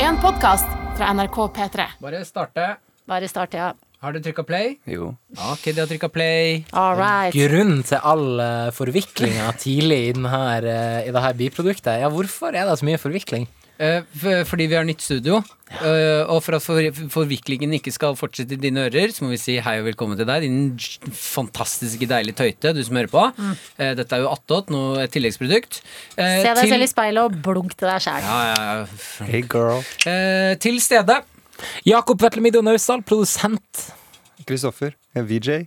en podkast fra NRK P3. Bare starte. Bare start, ja. Har du trykka play? Jo. Ja, Ok, de har trykka play. All right. Grunnen til all eh, forviklinga tidlig i, den her, eh, i det her biproduktet, ja, hvorfor er det så mye forvikling? Eh, f- fordi vi har nytt studio. Eh, og for at for forviklingen ikke skal fortsette i dine ører, så må vi si hei og velkommen til deg, din j- fantastiske deilige tøyte, du som hører på. Mm. Eh, dette er jo attåt, noe et tilleggsprodukt. Eh, Se deg til- selv i speilet og blunk til deg sjæl. ja, ja, ja. Hey, girl. Eh, til stede. Jakob Vetlemido Naustdal, produsent. Kristoffer. Ja, VJ.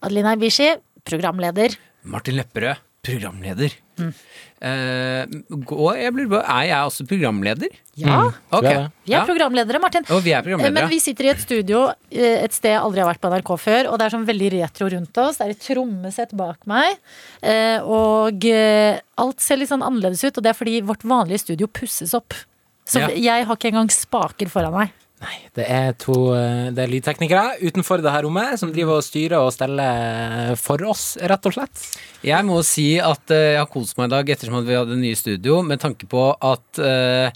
Adelina Ibishi, programleder. Martin Lepperød, programleder. Mm. Eh, og jeg blir, er jeg også programleder? Ja, Ok. er det. vi er programledere, Martin. Eh, Og vi er programledere. Men vi sitter i et studio eh, et sted jeg aldri har vært på NRK før, og det er sånn veldig retro rundt oss. Det er et trommesett bak meg, eh, og eh, alt ser litt sånn annerledes ut, og det er fordi vårt vanlige studio pusses opp. Så Ja. jeg har ikke engang spaker foran meg. Nei, det er to eh, det er lydteknikere utenfor det her rommet som driver og styrer og steller eh, for oss, rett og slett. Jeg må si at eh, jeg har kost meg i dag ettersom at vi hadde nye studio, med tanke på at eh,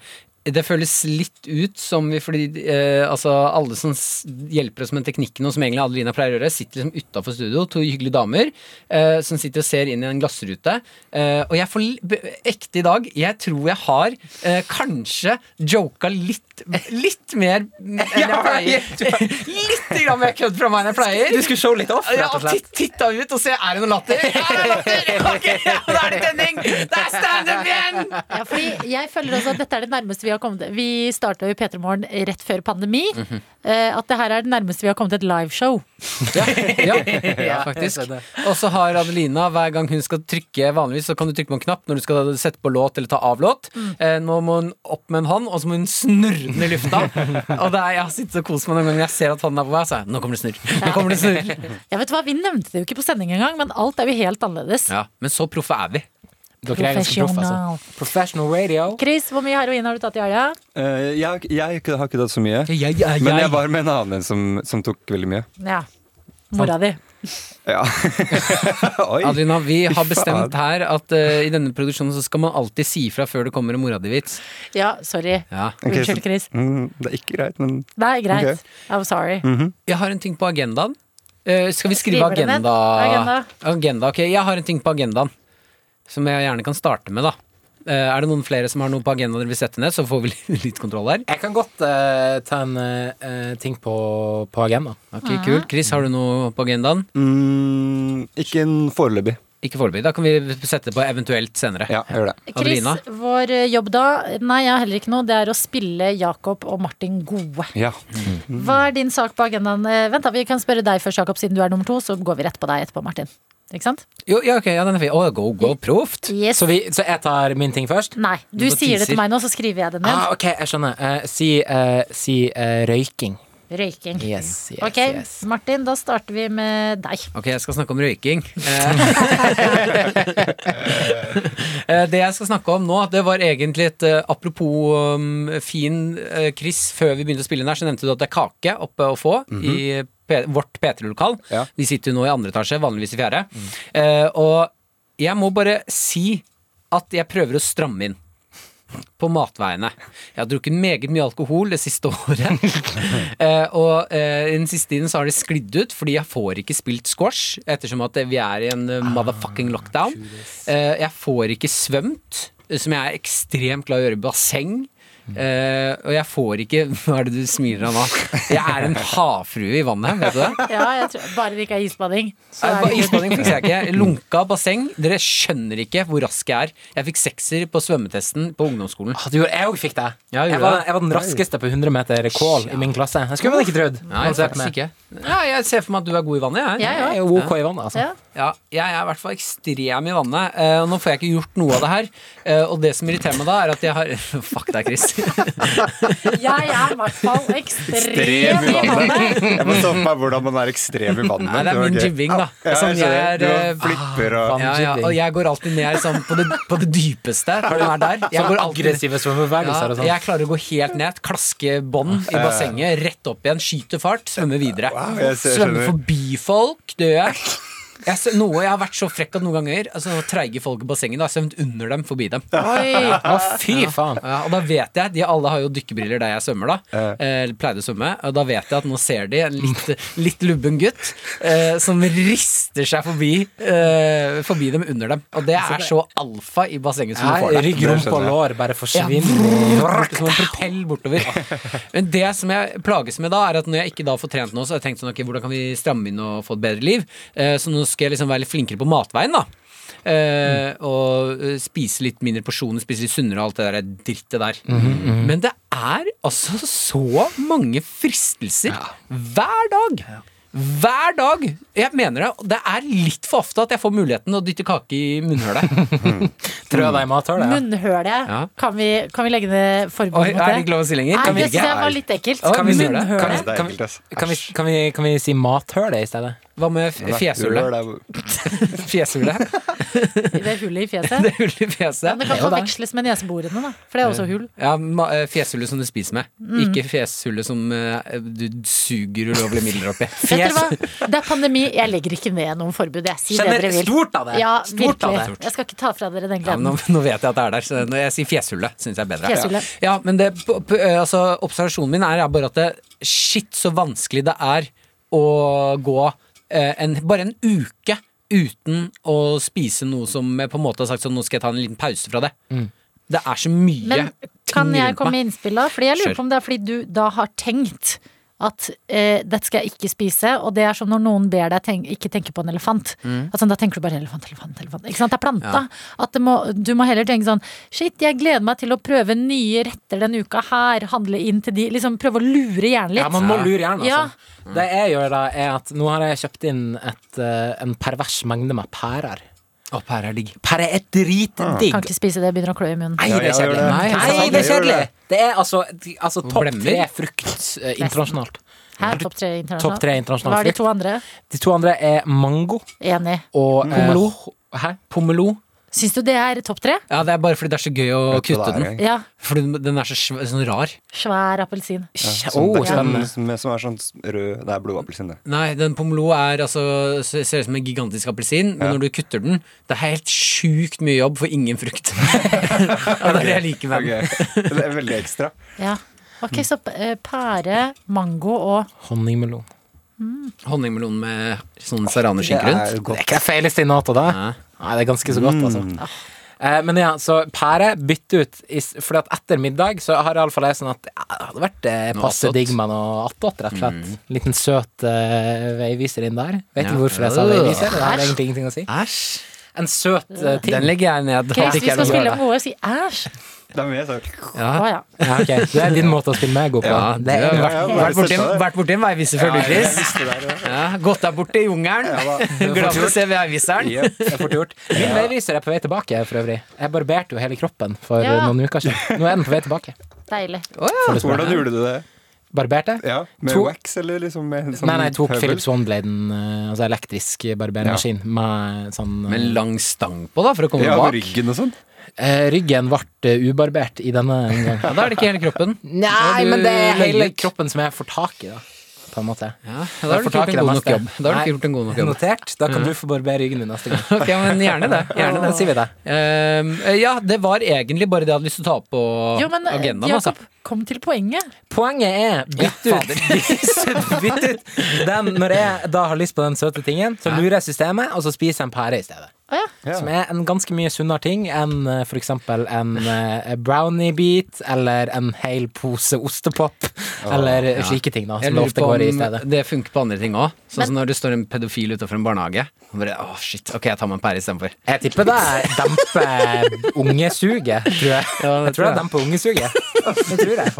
det føles litt ut som vi fordi eh, altså alle som s- hjelper oss med teknikken, og som egentlig Adelina pleier å gjøre, sitter liksom utafor studio, to hyggelige damer eh, som sitter og ser inn i en glassrute. Eh, og jeg får l- b- ekte i dag Jeg tror jeg har eh, kanskje joka litt litt mer enn jeg pleier. litt grann mer kødd fra meg enn jeg pleier. Du skulle show litt off, Ja, rett og slett. titt- titta ut og se, er det noe latter? Ja, det er latter! Ok, ja, da er det tenning! Det er standup igjen! Ja, fordi jeg føler også at dette er det nærmeste vi har kommet. Vi starta jo P3 Morgen rett før pandemi. Mhm. eh, At det her er det nærmeste vi har kommet et liveshow. Ja, faktisk. Og så har Adelina, hver gang hun skal trykke vanligvis, så kan du trykke på en knapp når du skal sette på låt eller ta av låt. Eh, Nå må hun opp med en hånd, og så må hun snurre den i lufta. Og det er, jeg har sittet og kost meg noen ganger jeg ser at hånden er på vei, så er jeg, nå kommer det snurr. Nå kommer det snurr. Jeg vet hva, Vi nevnte det jo ikke på sending engang, men alt er jo helt annerledes. Ja, men så proffe er vi. Dere er ganske proff, Professional. altså. Professional radio. Chris, hvor mye heroin har du tatt i helga? Eh, jeg, har ikke- jeg har ikke- har ikke tatt så mye. Jeg, jeg, jeg. Men jeg var med en annen som, som tok veldig mye. Ja. Mora di. Ja. Oi. Adelina, vi har bestemt faen. her at eh, i denne produksjonen så skal man alltid si fra før det kommer en mora di-vits. Ja, sorry. Ja. Ok, så- Unnskyld, Chris. Mm, det er ikke greit, men Nei, greit. Ok. Mhm. I'm sorry. Jeg har en ting på agendaen. Eh, skal vi skrive Skriver du den? agenda? Agenda. agenda? Ok, jeg har en ting på agendaen som jeg gjerne kan starte med, da. Eh, er det noen flere som har noe på agendaen dere vil sette ned, så får vi litt- litt kontroll her. Jeg kan godt eh, ta en eh, ting på, på agendaen. Ok, kult. Chris, har du noe på agendaen? mm, Ikke en foreløpig. Ikke foreløpig. Da kan vi sette det på eventuelt senere. Ja, jeg gjør det. Chris, Adelina? vår eh, jobb da? Nei, jeg har heller ikke noe. Det er å spille Jakob og Martin gode. Ja. Hva er din sak på agendaen? Eh, Vent da, Vi kan spørre deg først, Jakob, siden du er nummer to. Så går vi rett på deg etterpå, Martin. Ikke sant? Jo, ja, ok, ja, den er fin. Å, go, go, proft! Yes. Mm. Så, vi, så jeg tar min ting først? Nei, du Du bare sier det til teaser. meg nå, så skriver jeg det ned. Ah, ok, jeg skjønner. Eh, si eh, si eh, røyking. Røyking. Yes, yes, Ok, yes. Martin, da starter vi med deg. Ok, jeg skal snakke om røyking. Eh, eh, det jeg skal snakke om nå, det var egentlig et eh, apropos um, fin eh, Chris, før vi begynte å spille inn her, så nevnte du at det er kake oppe å få i P vårt P3-lokal. Ja. Vi sitter jo nå i andre etasje, vanligvis i fjerde. Eh, og jeg må bare si at jeg prøver å stramme inn på matveiene. Jeg har drukket meget mye alkohol det siste året. eh, og eh, den siste tiden så har det sklidd ut, fordi jeg får ikke spilt squash, ettersom at vi er i en Ah, eh, motherfucking lockdown. Eh, jeg får ikke svømt, eh, som jeg er ekstremt glad i å gjøre i basseng. Eh, og jeg får ikke Hva er det du smiler av nå? Jeg er en havfrue i vannet, vet du det? Ja, jeg tror, Bare det ikke er isbading. Så Nei, er ba- det Isbading fikk jeg ikke. Lunka basseng. Dere skjønner ikke hvor rask jeg er. Jeg fikk sekser på svømmetesten på ungdomsskolen. Ah, du, jeg òg fikk det. Ja, gjorde jeg, var, det. jeg var den raskeste på 100 meter kål i min klasse. Jeg skulle man ikke trodd. Nei, Altså, faktisk ikke. Ja, jeg ser for meg at du er god i vannet. Jeg. Jeg Jeg er òg. jo OK i vannet, altså. Ja. Ja, jeg er i hvert fall ekstrem i vannet. eh, og nå får jeg ikke gjort noe av det her. Eh, og det som irriterer meg da, er at jeg har Fuck deg, Chris. Jeg er i hvert fall ekstrem Ekstrem i i vannet. Jeg må stoppe meg hvordan man er ekstrem i vannet. Nei, det er min jibbing, da. Ja, jeg Sånn jeg skjønner. er Du eh, flipper og ja, ja, Og jeg går alltid ned sånn på det, på det dypeste. Når den er der. Jeg, går Sånn alltid, aggressive svømmebevegelser og ja, sånn. jeg klarer å gå helt ned, klaske bånd i bassenget, rett opp igjen, skyte fart, svømme videre. Wow, jeg ser- Svømme skjønner. forbi folk, dør jeg. Jeg, ser- noe, jeg har vært så frekk at noen ganger altså, treige folk i bassenget da, har svømt under dem, forbi dem. Oi. Å, fy faen. Ja, og da vet jeg, de alle har jo dykkebriller der jeg svømmer da Ja. eh, eller Pleide å svømme Og da vet jeg at nå ser de en litt, litt lubben gutt eh, Som rister seg forbi eh, Forbi dem under dem Og det er så alfa i bassenget som Ja, du får der Rygg, Det rumpe og skjønner jeg. lår bare ja, forsvinner. vrrrt, som en propell bortover Men det som jeg plages med da Er at når jeg ikke da får trent nå Så har jeg tenkt sånn, ok, hvordan kan vi stramme inn og få et bedre liv Eh, Så nå skal jeg liksom være litt flinkere på matveien da Eh, Og eh, spise litt mindre porsjoner, spise litt sunnere og alt det der drittet der. Men det er altså så mange fristelser hver dag. Hver dag! Jeg mener det. og Det er litt for ofte at jeg får muligheten å dytte kake i munnhølet. Trø deg i mathølet. ja. Munnhølet. Ja. Kan, vi, kan vi legge ned Oi, forbud er det mot ikke det? lov å si lenger? Nei, Kan vi det ikke? synes jeg var litt ekkelt. Oi, kan vi gjøre det? Munnhølet. Kan Det er Kan vi- ekkelt, ass. Kan vi, kan, vi, kan vi si mathøl i stedet? Hva med f- fjesehullet? Fjeshulet. Fjesehullet? I det hullet i fjeset. Det hullet i Ja, men fjeset? det kan jo det. forveksles med neseborene, da. For det er også hull. Ja, ma- eh, Fjeshullet som du spiser med. Mm. Ikke fjeshullet som eh, du suger ulovlige midler opp i. Vet dere hva? Det er pandemi. Jeg legger ikke ned noen forbud. Jeg sier det Kjenner dere vil. stort av det. Ja, stort av virkelig. det. Jeg skal ikke ta fra dere den Ja, men nå, gleden. nå vet jeg at det er der, så når jeg sier fjeshullet, syns jeg er bedre. Fjeshullet. Ja, men det, p- p- altså, observasjonen min er, er bare at det, shit, så vanskelig det er å gå eh, en, bare en uke uten å spise noe som jeg på en måte har sagt sånn, nå skal jeg ta en liten pause fra det. Mm. Det er så mye Men kan jeg komme med innspill, da? Fordi jeg Kjør. lurer på om det er fordi du da har tenkt at eh, dette skal jeg ikke spise, og det er som når noen ber deg tenk, ikke tenke på en elefant. Mm. Altså, da tenker du bare elefant, elefant, elefant. Ikke sant? Det er planta. At det må, du må heller tenke sånn Shit, jeg gleder meg til å prøve nye retter denne uka her. Handle inn til de Liksom prøve å lure hjernen litt. Ja, man må lure hjernen, Ja. altså. Det jeg gjør da, er at nå har jeg kjøpt inn et, eh, en pervers mengde med pærer. Å, pære er digg. Pære er dritdigg. Kan ikke spise det, begynner å klø i munnen. Nei, Ja, det er jeg gjør kjedelig. det. Nei, altså, Nei, det er jeg gjør kjedelig. det. Det er altså, altså topp Blemmer. tre frukt eh, internasjonalt. Her, topp tre Topp internasjonalt. Hva tre er internasjonalt de frukt. to andre? De to andre er mango Enig. Mm. og eh, Pomelo. Hæ? Pomelo. Syns du det er topp tre? Ja, det er bare fordi det er så gøy å Vet du hva kutte det er, den. gang? Ja. Fordi den er så sv- sånn rar. Svær appelsin. Kje- Sånn, Åh, det er ikke spennende. den som, som er sånn rød Det er blodappelsin, det. Nei, den pomelo er altså ser ser ut som en gigantisk appelsin, men Ja. når du kutter den Det er helt sjukt mye jobb for ingen frukt. ja, det er det jeg liker med den. Ok. Det er veldig ekstra. Ja. Ok, så eh, pære, mango og Honningmelon. Honningmelon med sånn Det serranerskink rundt. er Det er godt. Mm. ikke det feileste i natta, det. Nei. Nei, det er ganske så godt, altså. Eh, men ja, så pære, bytte ut i s- Fordi at etter middag så har iallfall jeg sånn at ja, det hadde vært eh, Noe passe attåt. digg med noe attåt, rett og slett. Mm. Liten søt eh, veiviser inn der. Vet Ja. ikke hvorfor jeg sa Øh. veiviser, det har egentlig ingenting å si. Æsj. En søt eh, ting. Den legger jeg ned. Ok, At Hvis det vi ikke er skal noe spille å gjøre. om noe, si æsj. Det er mye søtt. Å Ja. ja. Ja, ok. Det er din måte å spille meg god på. Ja, du det har er vært, Ja, ja, vært, borti, bare vært borti en veiviser før, du, Chris. Ja, gått deg bort til jungelen. Glad for å se veiviseren. Yep. Det er fort gjort. Min veiviser er på vei tilbake, for øvrig. Jeg barberte jo hele kroppen for Ja. eh, noen uker siden. Nå er den på vei tilbake. Deilig. Å ja. Hvordan gjorde du det? Barberte? Ja, Med To- wax, eller liksom med sånn nei, nei, jeg tok høvel? Philips Onebladen, altså elektrisk barbermaskin, med sånn eh, Med lang stang på, da, for å komme Ja, med bak. ryggen og sånn. eh, Ryggen ble eh, ubarbert i denne omgang. Ja, da er det ikke hele kroppen. Nei, du men det er hele løyet. kroppen som jeg får tak i, da. På en måte. Ja, da har du Jeg får ikke tak gjort i en det god nok meste. jobb. Da har du Nei, ikke gjort en god nok jobb. Notert. Da kan du få barbere ryggen din neste gang. Ok, men gjerne det. Gjerne det. Da sier vi det. Ehm, ja, det var egentlig bare det jeg hadde lyst til å ta opp på Jo, men eh, agendaen. Altså. Jakob, kom til poenget. Poenget er bytt ut, bytt ut den Når jeg da har lyst på den søte tingen, så lurer jeg systemet, og så spiser jeg en pære i stedet. Å ja. Ja. Som er en ganske mye sunnere ting enn eh, for eksempel en eh, brownie-bit eller en hel pose ostepop eller slike ting, da, Jeg som det lurer ofte på går i i stedet. om det funker på andre ting òg. Sånn Men- som når det står en pedofil utenfor en barnehage. Og bare, åh shit, ok, jeg tar meg en pære istedenfor. Jeg tipper det demper ungesuget, tror jeg. det jeg tror tror det jeg. demper ungesuget. Det tror jeg. Det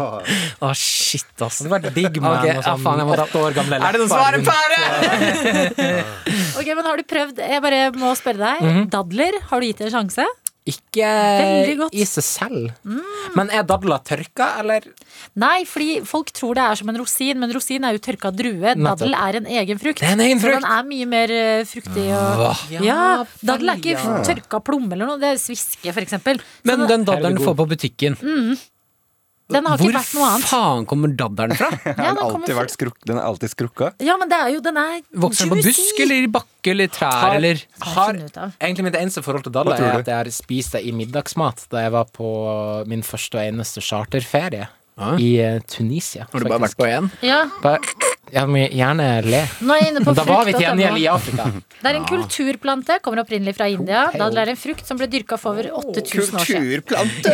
Å, shit, ass. hadde vært digg med Ok, noe ja, sånn faen, jeg må ta- åtte år gamle Er det noen som har en pære?! Ok, men har du prøvd? Jeg bare må spørre deg. Dadler, har du gitt det en sjanse? Ikke Veldig godt. Mm. i seg selv. Men er dadler tørka, eller? Nei, fordi folk tror det er som en rosin, men rosin er jo tørka drue. Nettopp. Daddel er en egen frukt. Det er en egen Så frukt. den er mye mer eh, fruktig og Ja, Ja, daddel er vel, ikke ja. tørka plomme eller noe. Det er sviske, for eksempel. Så Men den- den daddelen du får på butikken, Den har ikke Hvor vært noe annet. faen kommer dadderen fra? Ja, den, den har kommer alltid fra- vært sånn? skruk, den har alltid skrukka. Ja, men det er jo, den er Vokser den på juicy. busk eller i bakke eller trær eller Har- har, Egentlig mitt eneste forhold til Dalla Hva tror er du? at jeg har spist det i middagsmat da jeg var på min første og eneste charterferie Ah. i eh, Tunisia. Har du bare vært faktisk. på én? Ja, Bare- Jeg må gjerne le. nå er jeg inne på Men da var vi til frukt.no. gjengjeld i Afrika. Det er en kulturplante, kommer opprinnelig fra India. Da det er en frukt som ble dyrka for over 8000 år siden. Kulturplante!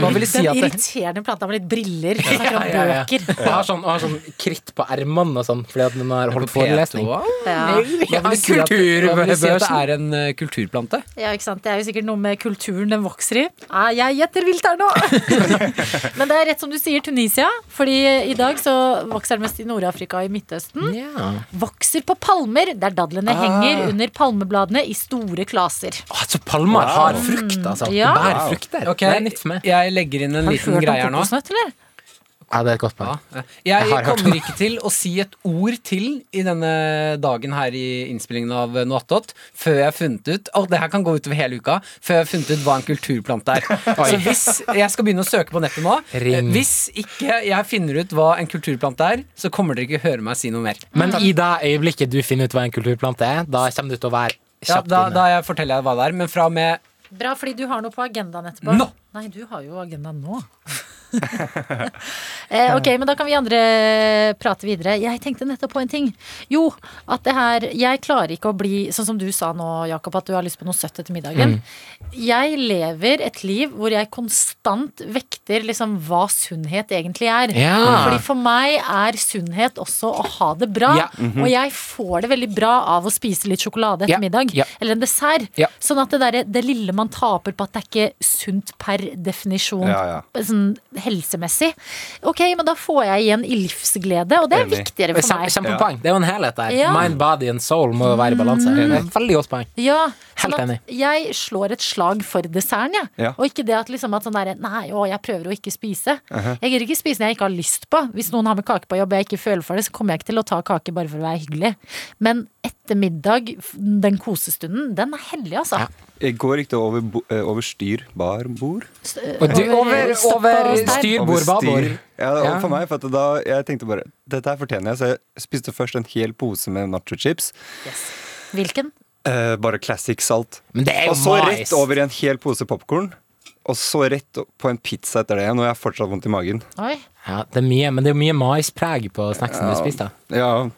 Hva vil det si Den at det irriterende planta med litt briller. Jeg snakker om Ja, ja, ja. bøker. Og har sånn, og har sånn kritt på ermene og sånn fordi at den har holdt forelesning. Ja. Hva vil det si at, hva vil det, si at det er en eh, kulturplante? Ja, ikke sant? Det er jo sikkert noe med kulturen den vokser i. Ah, jeg gjetter vilt her nå! Men det er rett som du sier, Tunisia. Fordi i dag så vokser den mest i Nord-Afrika og i Midtøsten. Ja. Vokser på palmer, der dadlene henger under palmebladene i store klaser. Altså, palmer har frukt, altså. Ja. Bær frukter. Ok, Det er nytt for meg. Jeg legger inn en Har du liten hørt om greie her nå. kokosnøtt, eller? Ja, det er et godt Ja. poeng. Jeg Eh, har hørt kommer ikke til å si et ord til i denne dagen her i innspillingen av Noattot før jeg har funnet ut Og det her kan gå utover hele uka. Før jeg har funnet ut hva en kulturplante er. Så hvis jeg skal begynne å søke på nettet nå Ring. eh, Hvis ikke jeg finner ut hva en kulturplante er, så kommer dere ikke høre meg si noe mer. Men i det øyeblikket du finner ut hva en kulturplante er, da kommer du til å være Ja, kjapt da, inne. da jeg forteller jeg hva det er, men fra og med Bra, fordi du har noe på agendaen etterpå. Nå! Nei, du har jo agendaen nå. eh, ok, men da kan vi andre prate videre. Jeg tenkte nettopp på en ting. Jo, at det her Jeg klarer ikke å bli sånn som du sa nå, Jakob, at du har lyst på noe søtt etter middagen. Mm. Jeg lever et liv hvor jeg konstant vekter liksom hva sunnhet egentlig er. Ja. Fordi for meg er sunnhet også å ha det bra. Ja. Og jeg får det veldig bra av å spise litt sjokolade etter Ja. middag. Ja. Eller en dessert. Ja. Sånn at det, derre- det lille man taper på at det er ikke sunt per definisjon Ja, ja. Sånn helsemessig. Ok, men da får jeg igjen i livsglede, og det er Enig. viktigere for Kjem- meg. Kjempepoeng. Det er jo en helhet der. Ja. Mind, body and soul må jo være i Mm. balanse. Det er et Veldig godt poeng. Ja, Helt sånn enig. at jeg slår et slag for desserten, jeg. Ja. Og ikke det at liksom at sånn derre Nei, å, jeg prøver å ikke spise. Uh-huh. Jeg gidder ikke spise når jeg ikke har lyst på. Hvis noen har med kake på jobb og jeg ikke føler for det, så kommer jeg ikke til å ta kake bare for å være hyggelig. Men etter middag, f- den kosestunden, den er hellig, altså. Ja. I går gikk det over, bo- eh, over styr barbord. Og du, over, øh, stopp og over stein. styrbord, babord. Ja, det Ja. var for meg, for at da, jeg tenkte bare Dette her fortjener jeg, så jeg spiste først en hel pose med nachochips. Yes. Hvilken? Eh, bare classic salt. Men det er jo Og så mais. rett over i en hel pose popkorn. Og så rett o- på en pizza etter det igjen, og jeg har fortsatt vondt i magen. Oi. Ja, det er mye, men det er jo mye maispreg på snacksen du spiste. Ja,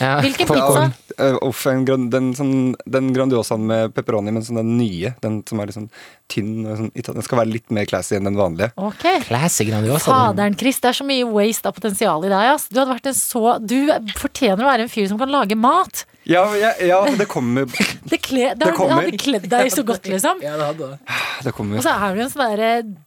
Ja, altså, Hvilken på- pizza? eh, uff, en gran, den, sånn, den Grandiosaen med pepperoni, men sånn den nye. Den som er litt sånn tynn. Og sånn, den skal være litt mer classy enn den vanlige. Ok. Classic sånn- Grandiosa. den. Faderen, Chris, det er så mye waste av potensial i deg. Ass. Du, hadde vært en så, du fortjener å være en fyr som kan lage mat. Ja, ja, ja men det kommer, det Det, kle, det, har- kommer. hadde kledd deg så godt, liksom. Ja, det hadde det. kommer. Og så er du en sånn derre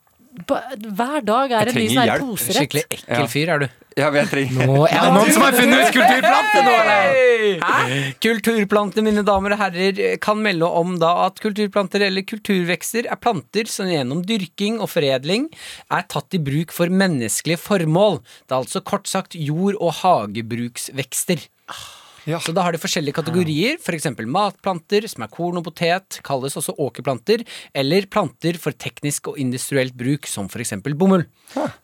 ba- Hver dag er Jeg en ny trenger sånn her hjelp. poserett. Skikkelig ekkel fyr er du. Ja, men jeg trenger Nå er det noen som har funnet ut kulturplante nå, eller? Hæ? Kulturplantene, mine damer og herrer, kan melde om da at kulturplanter eller kulturvekster er planter som gjennom dyrking og foredling er tatt i bruk for menneskelige formål. Det er altså kort sagt jord- og hagebruksvekster. Ja. Så da har de forskjellige kategorier, f.eks. matplanter, som er korn og potet, kalles også åkerplanter, eller planter for teknisk og industrielt bruk, som f.eks. bomull.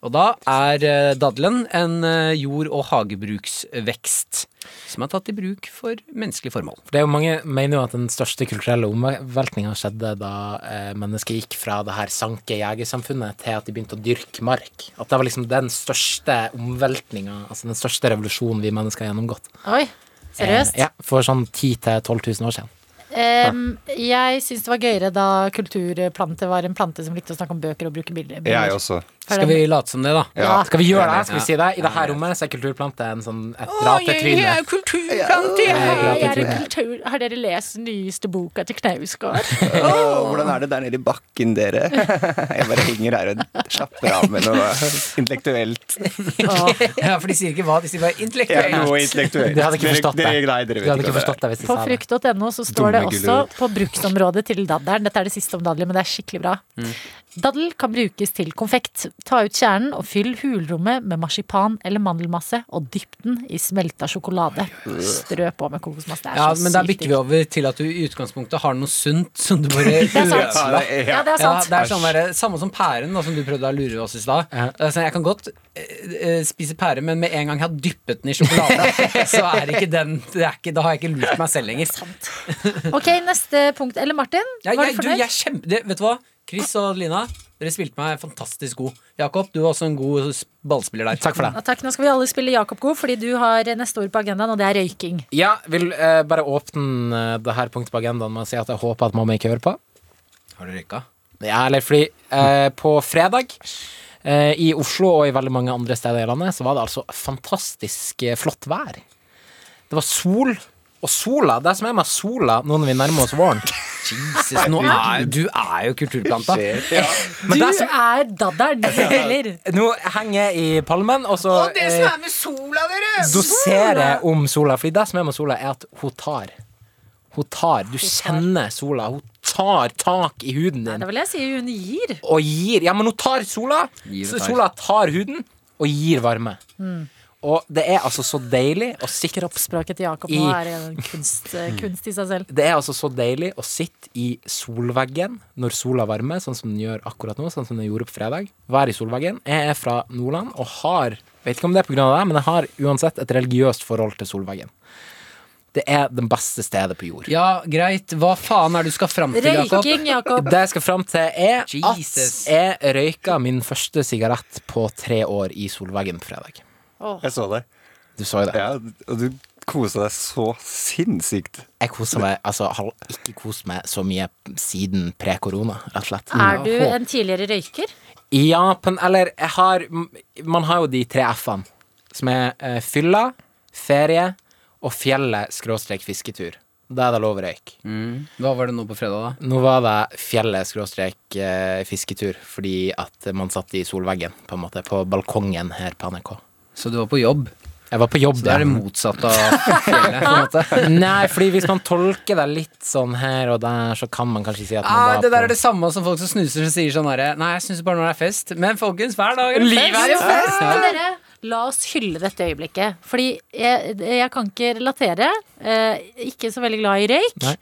Og da er eh, daddelen en eh, jord- og hagebruksvekst, som er tatt i bruk for menneskelige formål. For det er jo mange mener jo at den største kulturelle omveltninga skjedde da eh, mennesket gikk fra det her sanke jegersamfunnet til at de begynte å dyrke mark. At det var liksom den største omveltninga, altså den største revolusjonen vi mennesker har gjennomgått. Oi, seriøst? Eh, ja, for sånn 10 000-12 000 år siden. Em, jeg syns det var gøyere da kulturplante var en plante som likte å snakke om bøker og bruke bilder. Jeg også. For Skal den- vi late som det, da? Ja. Skal vi gjøre det? Skal vi si det? I det her rommet så er kulturplante en sånn et ratetryne. kulturplante! Hei, jeg er tror en kultur... Har dere lest den nyeste boka til Knausgård? Åh, hvordan er det der nede i bakken, dere? Jeg bare henger her og slapper av med noe intellektuelt. Ja, for de sier ikke hva, de sier bare Ja, noe intellektuelt. intellektuelt. Du hadde ikke Dere- forstått det. dere- Nei, dere Du vet hadde ikke ikke hva det forstått det hvis du På sa det. frukt.no så står Dumme det også gulrot. på bruksområdet til dadderen. Dette er det siste om daddelen, men det er skikkelig bra. Daddel kan brukes til konfekt. Ta ut kjernen og fyll hulrommet med marsipan eller mandelmasse og dypp den i smelta sjokolade. Strø på med kokosmasse. Det er Ja, så men da sykt bikker vi digg. over til at du i utgangspunktet har noe sunt som du bare Det er sant. Ja, det er- Ja, det er Ja, sant. det er sånn der, Samme som pæren, da, som du prøvde å lure oss i stad. Ja. Altså, jeg kan godt eh, eh, spise pære, men med en gang jeg har dyppet den i sjokolade, så er ikke den det er ikke, Da har jeg ikke lurt meg selv lenger. Ok, neste punkt. Eller Martin, Ja, var jeg, du du, fornøyd? jeg er kjempe, det, vet du hva? Chris og Lina, dere spilte meg fantastisk god. Jakob, du var også en god s- ballspiller der. Takk for det. Ja, takk. Nå skal vi alle spille Jakob god, fordi du har neste ord på agendaen, og det er røyking. Ja, vil eh, bare åpne eh, det her punktet på agendaen med å si at jeg håper at mamma ikke hører på. Har du røyka? Ja, eller fordi eh, på fredag eh, i Oslo og i veldig mange andre steder i landet, så var det altså fantastisk eh, flott vær. Det var sol, og sola Det som er med sola nå når vi nærmer oss våren Jesus, nå er, du er jo kulturplanta. Men Du det som, er dadderen, du spiller. Nå henger jeg i palmen, og så eh, er med sola, dere! doserer jeg om sola. Fordi det som er med sola, er at hun tar. Hun tar. Du kjenner sola. Hun tar tak i huden din. Det vil jeg si hun gir. og gir Ja, men hun tar sola. Gir og Så tar. sola tar huden og gir varme. Og det er altså så deilig å sitte Kroppsspråket til Jakob I- nå er en kunst, eh, kunst i seg selv. Det er altså så deilig å sitte i solveggen når sola varmer, sånn som den gjør akkurat nå, sånn som den gjorde på fredag. Være i solveggen. Jeg er fra Nordland og har Vet ikke om det er på grunn av det, men jeg har uansett et religiøst forhold til solveggen. Det er det beste stedet på jord. Ja, greit. Hva faen er det du skal fram til, Jakob? Røyking, Jakob. Det jeg skal fram til, er Jesus. at jeg røyka min første sigarett på tre år i solveggen på fredag. Jeg så deg. Du så jo det. Ja, og du kosa deg så sinnssykt. Jeg koser meg, altså har ikke kost meg så mye siden pre-korona, rett og slett. Er du en tidligere røyker? Ja, på en, eller jeg har Man har jo de tre F-ene, som er eh, fylla, ferie og fjellet skråstrek fisketur. Da er det lov å røyke. Mm. Hva var det nå på fredag, da? Nå var det fjellet skråstrek eh, fisketur, fordi at man satt i solveggen, på en måte, på balkongen her på NRK. Så du var på jobb? Jeg var på jobb Så det er der. det motsatte av fjellet, på en måte. Nei, fordi hvis man tolker det litt sånn her og der, så kan man kanskje si at man Ah, var det der på er det samme som folk som snuser og sier sånn herre Nei, jeg snuser bare når det er fest. Men folkens, hver dag er det Livet er jo fest! Men dere, la oss hylle dette øyeblikket. Fordi jeg, jeg kan ikke relatere. eh, Ikke så veldig glad i røyk. Nei.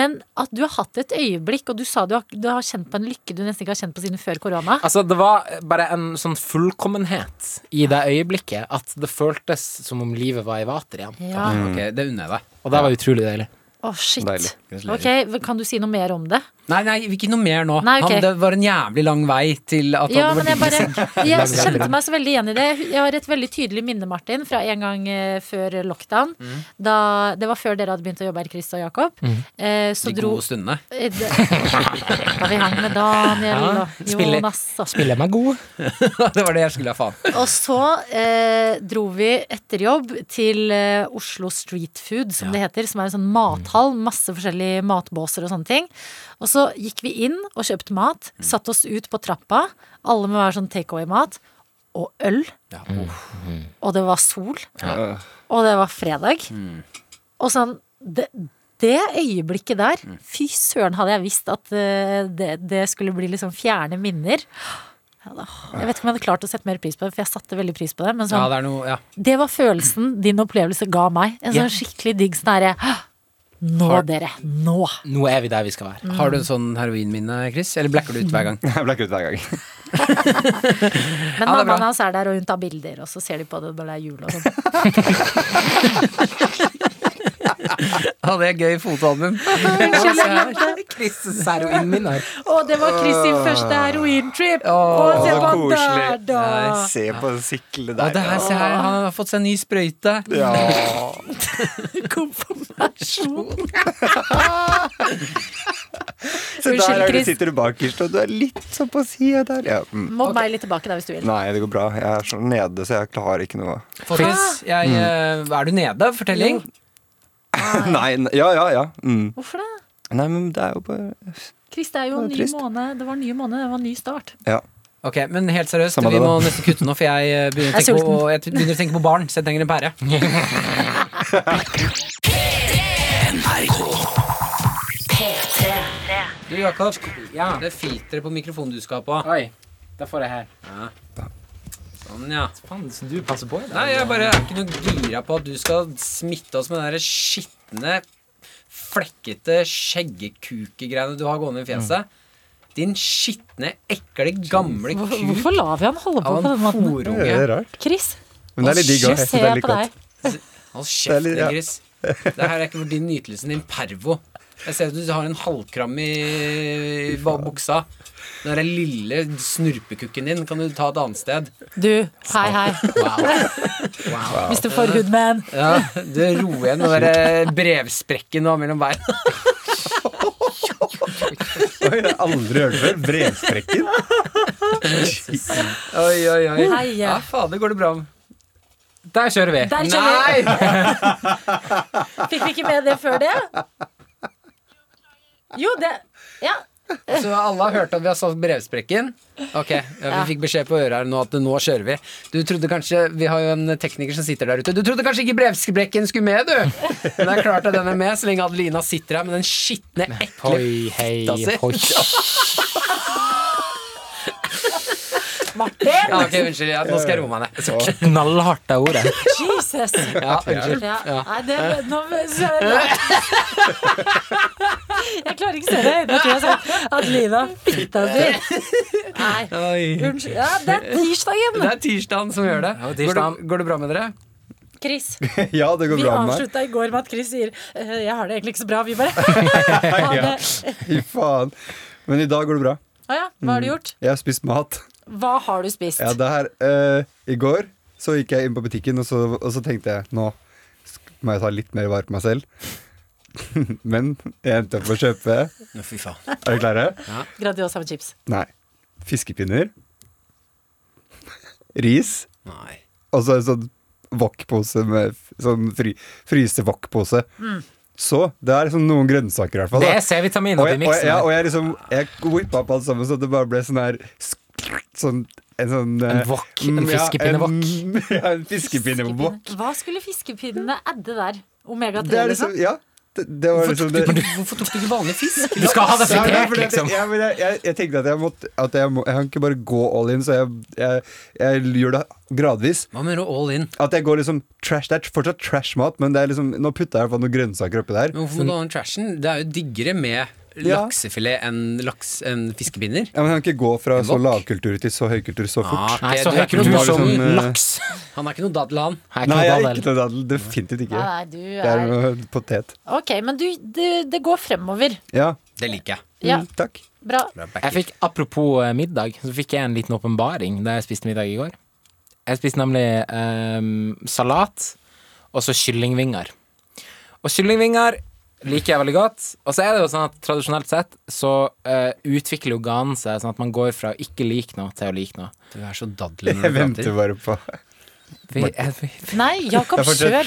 Men at du har hatt et øyeblikk, og du sa du har, du har kjent på en lykke du nesten ikke har kjent på siden før korona. Altså, det var bare en sånn fullkommenhet i det øyeblikket at det føltes som om livet var i vater igjen. Ja. Ok, det unner jeg deg. Og det var utrolig deilig. Å, shit. Deilig. Ok, Kan du si noe mer om det? Nei, nei, ikke noe mer nå. Nei, ok. Han, det var en jævlig lang vei til at Ja, han men jeg var bare bare... Jeg kjente meg så veldig igjen i det. Jeg har et veldig tydelig minne, Martin, fra en gang eh, før lockdown. Da, det var før dere hadde begynt å jobbe her, Chris og Jakob. Eh, så de dro gode stundene. eh, det- Da vi hang med Daniel Ja, og spiller- Jonas og Spiller meg god. det var det jeg skulle ha faen. Og så eh, dro vi etter jobb til eh, Oslo Street Food, som det heter. Som er en sånn mathall. Masse forskjellige matbåser og sånne ting. Og så gikk vi inn og kjøpte mat. Satt oss ut på trappa. Alle med hver sånn takeaway-mat. Og øl. Ja, oh. Og det var sol. Og det var fredag. Mm. Og sånn det, det øyeblikket der Mm. Fy søren, hadde jeg visst at eh, det, det skulle bli liksom fjerne minner. Ja, da. Jeg vet ikke om jeg hadde klart å sette mer pris på det, for jeg satte veldig pris på det. Men Ja, sånn, det er noe ja. det var følelsen din opplevelse ga meg. En sånn skikkelig digg sånn herre «Hå! Nå, dere. Nå. Nå er vi der vi skal være. Har du en sånn heroinminne, Chris? Eller blacker du ut hver gang? Jeg ble ikke ut hver gang. Men Ja, det er bra. mammaen hans er der, og hun tar bilder, og så ser de på det når det er jul og sånn. Ja, det er gøy fotoalbum. Unnskyld, jeg glemte. Chris Seroinminner. Å, det var Chris sin første herointrip! Å, det så var der, koselig. da! Se på den sikle Ja, der. det her, se her, han har fått seg en ny sprøyte. Ja. Konfirmasjon. Se Unnskyld, der er du Chris. sitter du bakerst, og du er litt sånn på sida der. Ja. Mm. Mobb meg litt tilbake da hvis du vil. Nei, det går bra. Jeg er så nede, så jeg klarer ikke noe. Folkens, jeg, eh, er du nede? Fortelling. Nei, n- ja, ja, ja. Mm. Hvorfor det? Nei, men det er jo bare Chris, det er jo Det er en ny trist. måned. Det var en ny måned, det var en ny start. Ja. Ok, men helt seriøst, Samme vi det, må da. nesten kutte nå, for jeg eh, begynner å, Jeg er tenke på, jeg t- begynner å tenke på barn, så jeg trenger en pære. Du, Jakob. Ja. Det filteret på mikrofonen du skal ha på. Oi. Da får jeg her. Ja. Sånn, ja. Faen, så du passer på i dag. Nei, jeg bare er ikke noe gira på at du skal smitte oss med den der skitne, flekkete skjeggekukegreiene du har gående i Mm. fjeset. Din skitne, ekle, gamle Hvor- kuk Hvorfor lar vi han holde på av på den en måten? Ja, det horunge. er rart. Chris, Men det er litt digg nå òg. Jeg synes ser det er jeg litt på godt. deg. Hold Det er kjeft, litt- ja. Gris. Det her er ikke for din nytelse, din pervo. Jeg ser at du har en halvkram i ba- buksa. Den der lille snurpekukken din kan du ta et annet sted. Du, hei, hei. Mr. Forhudman. Ja, Du roer igjen den der eh, brevsprekken du har mellom beina. Oi, jeg har aldri hørt det før. Brevsprekken. Oi, oi, oi. Hei, ja. Ja, fader, går det bra? med- Der kjører vi. Der kjenner jeg. Nei! Fikk vi ikke med det før det? Jo, det Ja. Så alle har hørt at vi har solgt brevsprekken? Ok, ja, vi Ja. fikk beskjed på øret her nå at nå kjører vi. Du trodde kanskje, Vi har jo en tekniker som sitter der ute. Du trodde kanskje ikke brevsprekken skulle med, du! Men det er klart at den er med, så lenge Adelina sitter her med den skitne, ekle Hoi, hei, Da ser- hoi. ja, Martin! ok, Unnskyld, ja, nå skal jeg roe meg ned. Knallhardt er ordet. Jesus. Ja, unnskyld. Ja. Ja. Nei, det Nå så- Jeg klarer ikke å se det. Nå tror jeg sånn Adelina, fitta di. Nei, Oi. unnskyld. Ja, det er Det tirsdagen. er tirsdagen som gjør det. Ja, Går det, tirsdagen. går det bra med dere? Chris, Ja, det går vi bra med meg. avslutta i går med at Chris sier «Eh, 'Jeg har det egentlig ikke så bra', vi bare. Ha det. Fy faen. Men i dag går det bra. Å ja, hva har du gjort? Jeg har spist mat. Hva har du spist? Mm. Ja, det her eh, I går så gikk jeg inn på butikken, og så, og så tenkte jeg nå sk- må jeg ta litt mer vare på meg selv. Men jeg endte opp med å kjøpe Er Fy faen. dere klare? Grandiosa med chips. Nei. Fiskepinner. Ris. Nei. Og så en sånn wok-pose med f- sånn fry, frysevok-pose. Så det er liksom noen grønnsaker, i hvert fall. Det da. er C-vitamin Og oppi jeg, og, jeg, miksen. ja, her. og jeg liksom Jeg whippa opp alt sammen, så det bare ble sånn her sk- Sånn en sånn eh, En wok, en mm, ja, fiskepinnevok. en- Ja, en fiskepinnevok. Fiskepinnen. Hva skulle fiskepinnene adde der? Omega-3, Det er liksom? liksom Ja. Det, det var liksom det. Hvorfor tok du ikke vanlig fisk? Du skal ha det Ja, ja, fritert, fordi at jeg- liksom. ja, men jeg, jeg, jeg tenkte at jeg måtte At jeg, må, jeg kan ikke bare gå all in, så jeg, jeg, jeg gjør det gradvis. Hva med å all in? At jeg går liksom trash, Det er fortsatt trash-mat, men det er liksom nå putta jeg i hvert fall noen grønnsaker oppi der. Men hvorfor må du ha den trashen? Det er jo diggere med Sånn- Ja. laksefilet enn laks, enn fiskepinner. Ja, men Jeg kan ikke gå fra En så wok? lavkultur til så høykultur så fort. Ah, ok, Nei, du så er ikke høykultur noe som sånn, eh, laks. Han er ikke noe dadel, han. Her Nei, jeg kan er du ikke ta det. noe dadel. Definitivt ikke. Nei, nei, du Det er er noe potet. Ok, men du, det, det går fremover. Ja. Det liker jeg. Ja, Mm, takk. bra. Bra Jeg backer. fikk, apropos eh, middag, så fikk jeg en liten åpenbaring da jeg spiste middag i går. Jeg spiste nemlig eh, salat og så kyllingvinger. Og kyllingvinger liker jeg veldig godt. Og så er det jo sånn at tradisjonelt sett så eh, utvikler jo ganen seg sånn at man går fra å ikke like noe til å like noe. Du er så dadel Jeg når du venter prater. bare på Vi, jeg, Nei, Jakob Jeg fortsetter.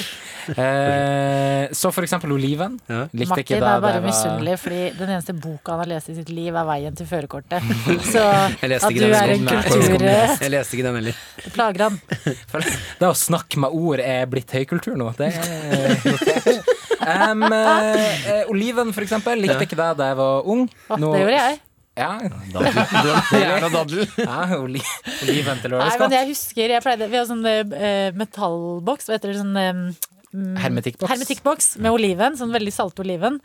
Kjør. Eh, så for eksempel oliven. Ja. Likte ikke Martin da er bare det var- misunnelig, fordi den eneste boka han har lest i sitt liv, er 'Veien til førerkortet'. Så Jeg at leste du ikke er den en heller. Jeg leste ikke den heller. kulturplager han. For Det å snakke med ord er blitt høykultur nå. Det er notert. Em, eh, eh, oliven, for eksempel, likte ikke det da jeg var ung. Å, Nå- Det gjorde jeg. Ja, Jævla dadel. ja oli oliven Nei, til men lørdagsgodt. jeg husker jeg pleide, Vi har sånn eh, metallboks, hva heter det sånn eh, mm, Hermetikkboks. Hermetikkboks med oliven, sånn veldig salte oliven.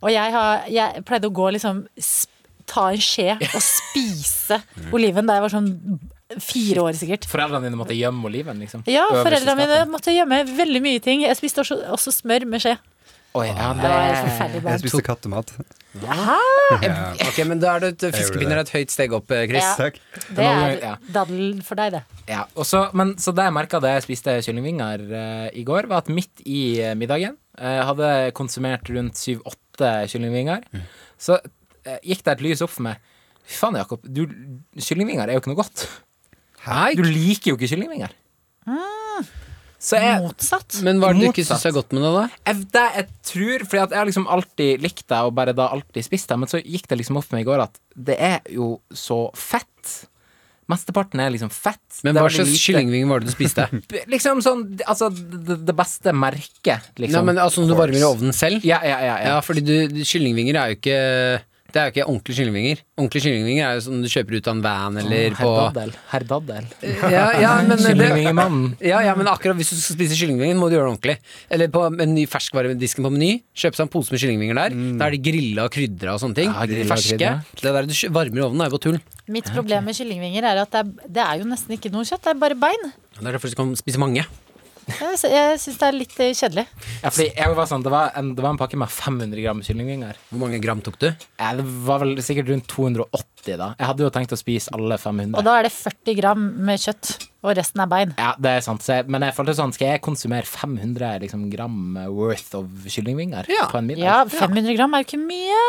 Og jeg, har, jeg pleide å gå liksom sp Ta en skje og spise oliven da jeg var sånn fire år, sikkert. Foreldrene dine måtte gjemme oliven, liksom. Ja, Øverst i foreldrene mine skapet. måtte gjemme veldig mye ting. Jeg spiste også, også smør med skje. Oi, ja, Det var et det forferdelig Eh, Jeg barn. spiste kattemat. Ok, men da er det et fiskepinner er et høyt steg opp, eh, Chris. Ja. Takk. Det noen ganger- ja. er daddel for deg, det. ja. Og så- men, så det jeg merka da jeg spiste kyllingvinger eh, i går, var at midt i eh, middagen eh, hadde jeg konsumert rundt syv-åtte kyllingvinger. Så eh, gikk det et lys opp for meg. Fy faen, Jakob. Du, kyllingvinger er jo ikke noe godt. Hei. Du liker jo ikke kyllingvinger. Ah. Så jeg, Motsatt. Men hva er det du ikke Motsatt. syns er godt med det, da? jeg, det jeg tror Fordi at jeg har liksom alltid likt det og bare da alltid spist det, men så gikk det liksom opp for meg i går at det er jo så fett. Mesteparten er liksom fett. Men Det er hva veldig slags lite- kyllingving var det du spiste? Liksom sånn Altså, det, det beste merket, Nei, liksom. men altså, når du varmer i ovnen selv? ja, ja, ja, Ja, ja. fordi du, kyllingvinger er jo ikke Det er jo ikke ordentlige kyllingvinger. Ordentlige kyllingvinger er jo sånn du kjøper ut av en van eller på Herdaddel. Herdaddel. ja, ja, men det- Kyllingvingemannen. ja, ja, men akkurat hvis du skal spise kyllingvinger, må du gjøre det ordentlig. Eller på meny, ferskvaredisken på Meny. Kjøpe seg en pose med kyllingvinger der. Da er de grilla og krydra og sånne ting. Mm. Ja, de grilla og ferske. krydra. Det der du kjø- varmer i ovnen, er jo på tull. Mitt problem med kyllingvinger er at det er, det er jo nesten ikke noe kjøtt, det er bare bein. Det er derfor du kan spise mange. Jeg, jeg syns det er litt eh, kjedelig. Ja, fordi jeg var sånn, det, var en, det var en pakke med 500 gram kyllingvinger. Hvor mange gram tok du? Ja, det var vel sikkert rundt 280, da. Jeg hadde jo tenkt å spise alle 500. Og da er det 40 gram med kjøtt, og resten er bein. Ja, det er sant. Så jeg, men jeg følte sånn, skal jeg konsumere 500 liksom, gram worth of kyllingvinger Ja. på en middag? Ja, 500 gram er jo ikke mye.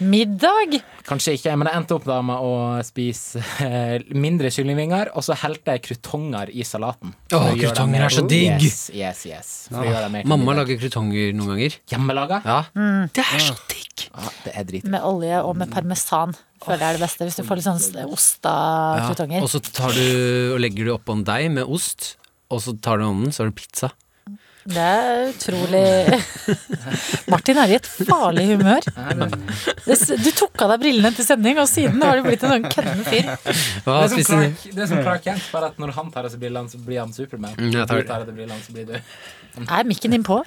Middag! Kanskje ikke, men jeg endte opp da med å spise eh, mindre kyllingvinger, og så helte jeg krutonger i salaten. Åh, For å gjøre det krutonger mer- er så digg! Ah, Yes, yes, yes. For å gjøre det mer til Mamma middag. lager krutonger noen ganger. Hjemmelaga? Ja. Mm, Det er så digg! Ja, det er drit. Med olje og med parmesan. Føler jeg er det beste. Hvis du får litt sånn osta-krutonger. Og så tar du og legger du oppå en deig med ost, og så tar du ovnen, så har du pizza. Det er utrolig Martin er i et farlig humør. Det s- Du tok av deg brillene til sending, og siden har du blitt en sånn kødden fyr. Hva Det er som Ah, spiser du? Clark, det er som Clark Kent, bare at når han tar av seg brillene, så blir han Superman. Mm, jeg tar Når det. du tar av deg brillene, så blir du Er mikken din på?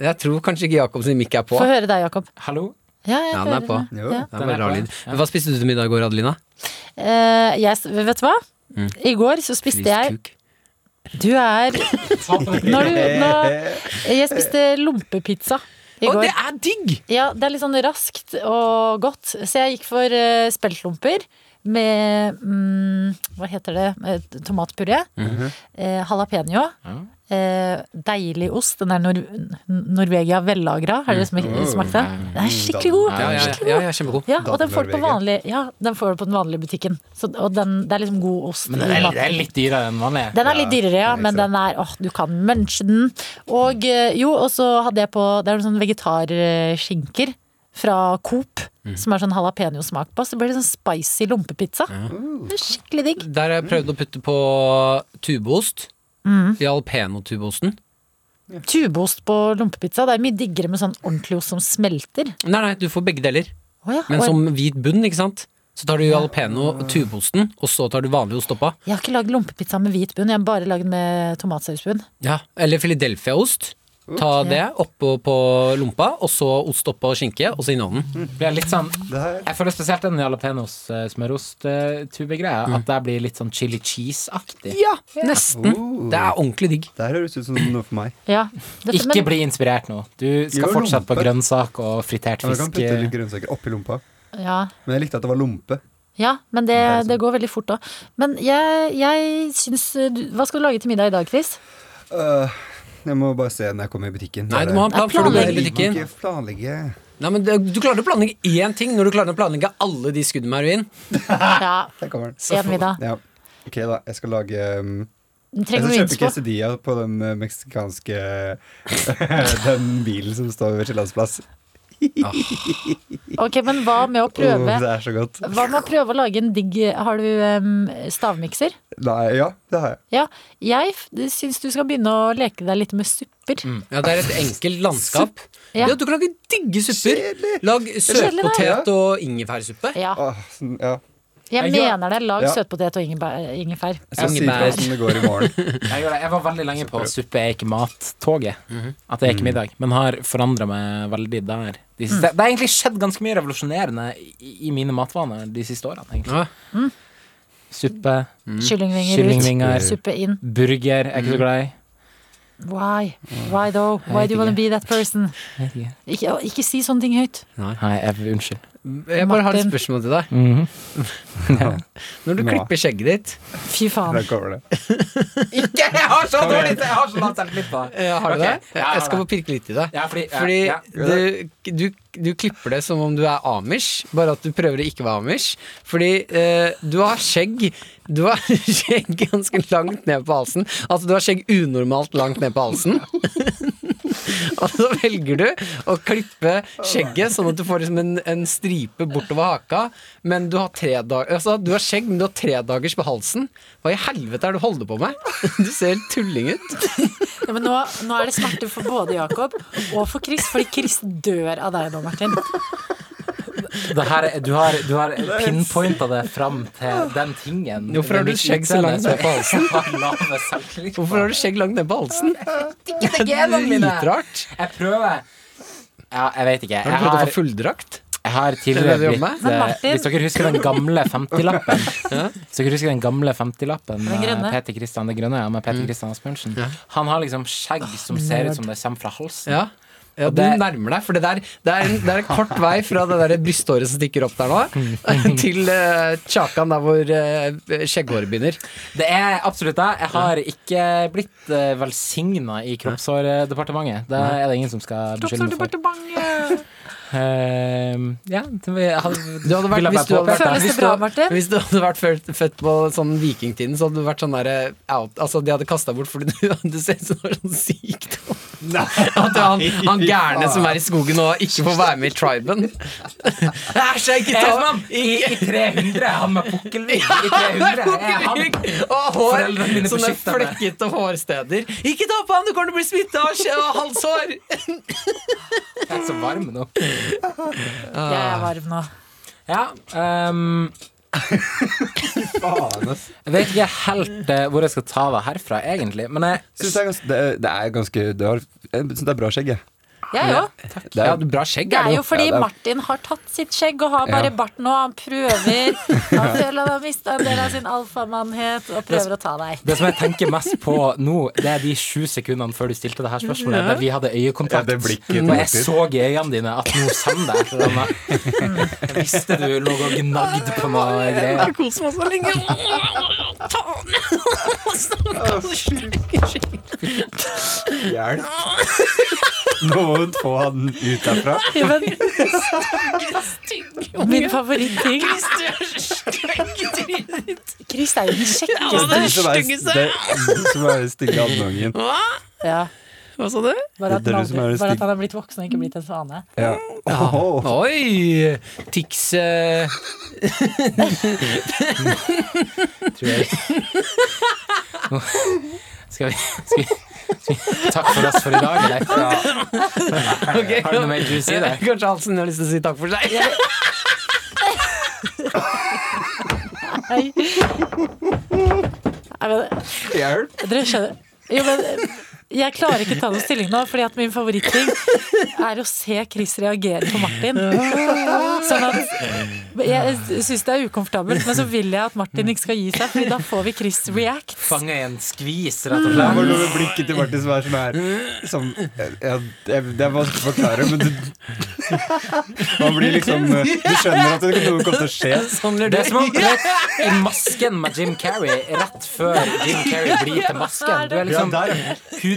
Jeg tror kanskje ikke Jakob sin mikk er på. Få høre deg, Jakob. Hallo? Ja, jeg Ja, den er hører på. deg. Jo. Ja. Det er Den bare er rar på, lyd. ja. Men Hva spiste du til middag i går, Adelina? Eh, jeg, s- vet du hva? Mm. I går så spiste jeg Fryst kuk. Du er når du, når, Eh, Jeg spiste lompepizza i Å, går. det er digg! Ja, det er litt sånn raskt og godt. Så jeg gikk for uh, speltlomper med mm, Hva heter det? Eh, Tomatpuré. Mhm. eh, jalapeño. Eh, deilig ost. Den er Nor Norvegia vellagra. Har dere smak Mm. Oh. smakt den? Den er skikkelig god. Ja, ja, ja, ja, ja, kjempegod. Ja, og den får, du på Norvegia. vanlig, ja, den får du på den vanlige butikken. Så, og den, det er liksom god ost. Men i det er, maten. det er litt dyrere enn vanlig. Den er litt dyrere, ja, men den er, åh, du kan munche den. Og eh, jo, og så hadde jeg på Det er noen sånne vegetarskinker fra Coop. Som er sånn jalapeño-smak på. Så det blir litt sånn spicy lompepizza. Det er skikkelig digg. Der har jeg prøvd å putte på tubeost. Mm. Jalpeno-tubeosten. Tubeost på lompepizza. Det er mye diggere med sånn ordentlig ost som smelter. Nei, nei, du får begge deler. Å ja, Men og- som hvit bunn, ikke sant? Så tar du jalpeno og tubeosten, og så tar du vanlig ost oppå. Jeg har ikke lagd lompepizza med hvit bunn, jeg har bare lagd med tomatsausbunn. Ja. Eller Philadelphia-ost. Ta det oppå på lompa, og så ost oppå skinke, og så inn i ovnen. Det er litt sånn Det her- Jeg føler spesielt den eh, jalapeños-smørost-tubegreia. Mm. At det blir litt sånn chili cheese-aktig. Ja, nesten. Det er ordentlig digg. oh, Det her høres ut som noe for meg. Ja, dette- Ikke men- bli inspirert nå. Du skal Jo, fortsatt på lompe. grønnsak og fritert Ja, du kan fisk. putte litt grønnsaker oppi lompa. ja. Men jeg likte at det var lompe. Ja, men det, det går veldig fort da. Men jeg, jeg syns eh, du- Hva skal du lage til middag i dag, Chris? Øh, jeg må bare se når jeg kommer i butikken. Nei, du må ha en Nei, plan før du går i planlegg. butikken. Ikke planlegge. Nei, men det- Du klarer å planlegge én ting når du klarer å planlegge alle de skuddene med heroin. Ja, Der kommer den. en middag. Ja. Ok, da. Jeg skal lage um, Jeg Trenger skal noe kjøpe innspo. quesadilla på den eh, meksikanske Den bilen som står ved Kiellandsplass. Ok, men hva med å Åh, prøve det er så godt. Hva med å prøve å lage en digg Har du em, stavmikser? Nei, ja, det har jeg. Ja, jeg syns du skal begynne å leke deg litt med supper. Mm. Ja, Det er et enkelt landskap. Ja. Ja. Du kan lage digge supper. Lag Kjedelig, søtpotet og ingefærsuppe. Ja, Åh, sånn, ja. jeg Jeg gjør- mener det. Lag Ja. søtpotet og ingefær. ingefær. Jeg skal si fra Engebær. hvordan det går i morgen. Jeg, gjør det. jeg var veldig lenge på suppe er ikke mat-toget. Mhm. At det er Mhm. ikke middag. Men har forandra meg veldig der. De siste, Mm. Det har egentlig skjedd ganske mye revolusjonerende i, i mine matvaner de siste årene. egentlig. Ja. Mm. Suppe, Mm. Kyllingvinger, Kyllingvinger. ut. Eh, Suppe inn. burger er Mm. ikke så glad i. Why? Mm. Why though? Why do you wanna be that person? Jeg vet ikke. Ikke, ikke si sånne ting høyt. Nei, jeg, unnskyld. Jeg bare har et Martin. spørsmål til deg. Når du Nå. klipper skjegget ditt Fy faen. Der kommer det. Ikke! Jeg har så dårlig Jeg har så lavt selvtillit på det. ja, eh, Har du Ok, det? ja, jeg Jeg skal har bare pirke litt i det. Ja, fordi, ja, Fordi ja. du, du, du klipper det som om du er amish, bare at du prøver å ikke være amish. Fordi eh, du har skjegg Du har skjegg ganske langt ned på halsen. Altså du har skjegg unormalt langt ned på halsen. Og så velger du å klippe skjegget sånn at du får liksom en, en stripe bortover haka. Men du har tre dager Altså du har skjegg, men du har tredagers på halsen. Hva i helvete er det du holder på med? Du ser helt tulling ut. Ja, men nå, nå er det smerte for både Jakob og for Chris, fordi Chris dør av deg nå, Martin. Det her, er- du har, du har pinpointa det fram til den tingen. Hvorfor har Det du er mitt skjegg så langt utseende ned på halsen? som har lave selvtillit. Hvorfor har du skjegg langt ned på halsen? Ikke det genene mine! Dritrart. Jeg prøver. Ja, jeg vet ikke. Har Jeg du prøvd å har, få fulldrakt? jeg har Det er tidligere det du blitt jobber med. eh, Men Martin- Hvis dere husker den gamle 50-lappen Hvis dere husker den gamle 50-lappen Den grønne. eh, Peter Kristian det grønne, ja, med Mm. Peter Kristian Asbjørnsen Han har liksom skjegg som ser ut som det kommer fra halsen. Ja. Ja, Og du det- nærmer deg, for det, der, det, er en, det er en kort vei fra det der brysthåret som stikker opp der nå, til uh, kjakan der hvor eh, skjegghåret begynner. Det er absolutt det. Jeg har ikke blitt uh, velsigna i kroppshårdepartementet. Det er det ingen som skal beskylde meg for. Ehm, ja, det vil- jeg hadde, Du hadde vært, ville hvis du bare hadde vært, Føles det hvis påpekt du, bra, hadde- Martin? hvis du hadde vært født, født på sånn vikingtiden, så hadde du vært sånn derre out Altså, de hadde kasta bort fordi du hadde sett som var sånn sykdom. At han, han gærne som er i skogen og ikke får være med i triben. Æsj, jeg ikke Jeg er ta mann i, i 300, han med pukkelrygg i 300. Jeg er han. Og hår! Foreldrene mine Sånne beskytter meg. flekkete hårsteder. Ikke ta på han, du kommer til å bli smitta av skje- av halshår! Jeg er så varm nå. Jeg er varm nå. Ja, ehm, jeg vet ikke helt eh, hvor jeg skal ta det herfra, egentlig. Men jeg Synes det, er ganske, det, er- det er ganske Du har jeg synes det er bra skjegg, jeg. Jeg òg. Det er, bra skjegg Det er jo fordi Ja, det er- Martin har tatt sitt skjegg og har bare bart nå. Han prøver. Han føler han har mista en del av sin alfamannhet og prøver å ta deg. Det som jeg tenker mest på nå, det er de sju sekundene før du stilte det her spørsmålet, der vi hadde øyekontakt. Ja, det og blikket jeg til Martin. så i øynene dine at nå kommer det et eller annet. Jeg visste du lå og gnagde på noe greier. kost meg så lenge. Hjelp. Noen få han ut derfra. Ja, men- Min favoritting. Chris er jo den kjekkeste. Det som er, det, det som er stygge andungen. Ja, Hva sa du? bare, at Det er han du som er aldri, bare den stygg- at han har blitt voksen og ikke blitt en svane. Ja. Åh, Oi! Tix eh, tror jeg. Nå Skal vi, skal vi, skal vi Takk for oss for i dag, eller? ok. Har du noe mer juicy der? Kanskje Hansen har lyst til å si takk for seg? Nei. Nei, men Hjelp. Dere skjønner jo, men, Jeg klarer ikke ta noen stilling nå, fordi at min favoritting er å se Chris reagere på Martin. Sånn at Jeg syns det er ukomfortabelt, men så vil jeg at Martin ikke skal gi seg, Fordi da får vi Chris react. Fange en skvis, rett og Det var slett. noe med blikket til Martin som er sånn her som, ja, det, det er vanskelig å forklare, men du Man blir liksom Du skjønner at det noe kommer til å skje. Sånn blir Det det. er som om du vet, i masken med Jim Carrey, rett før Jim Carrey blir til masken. Du er liksom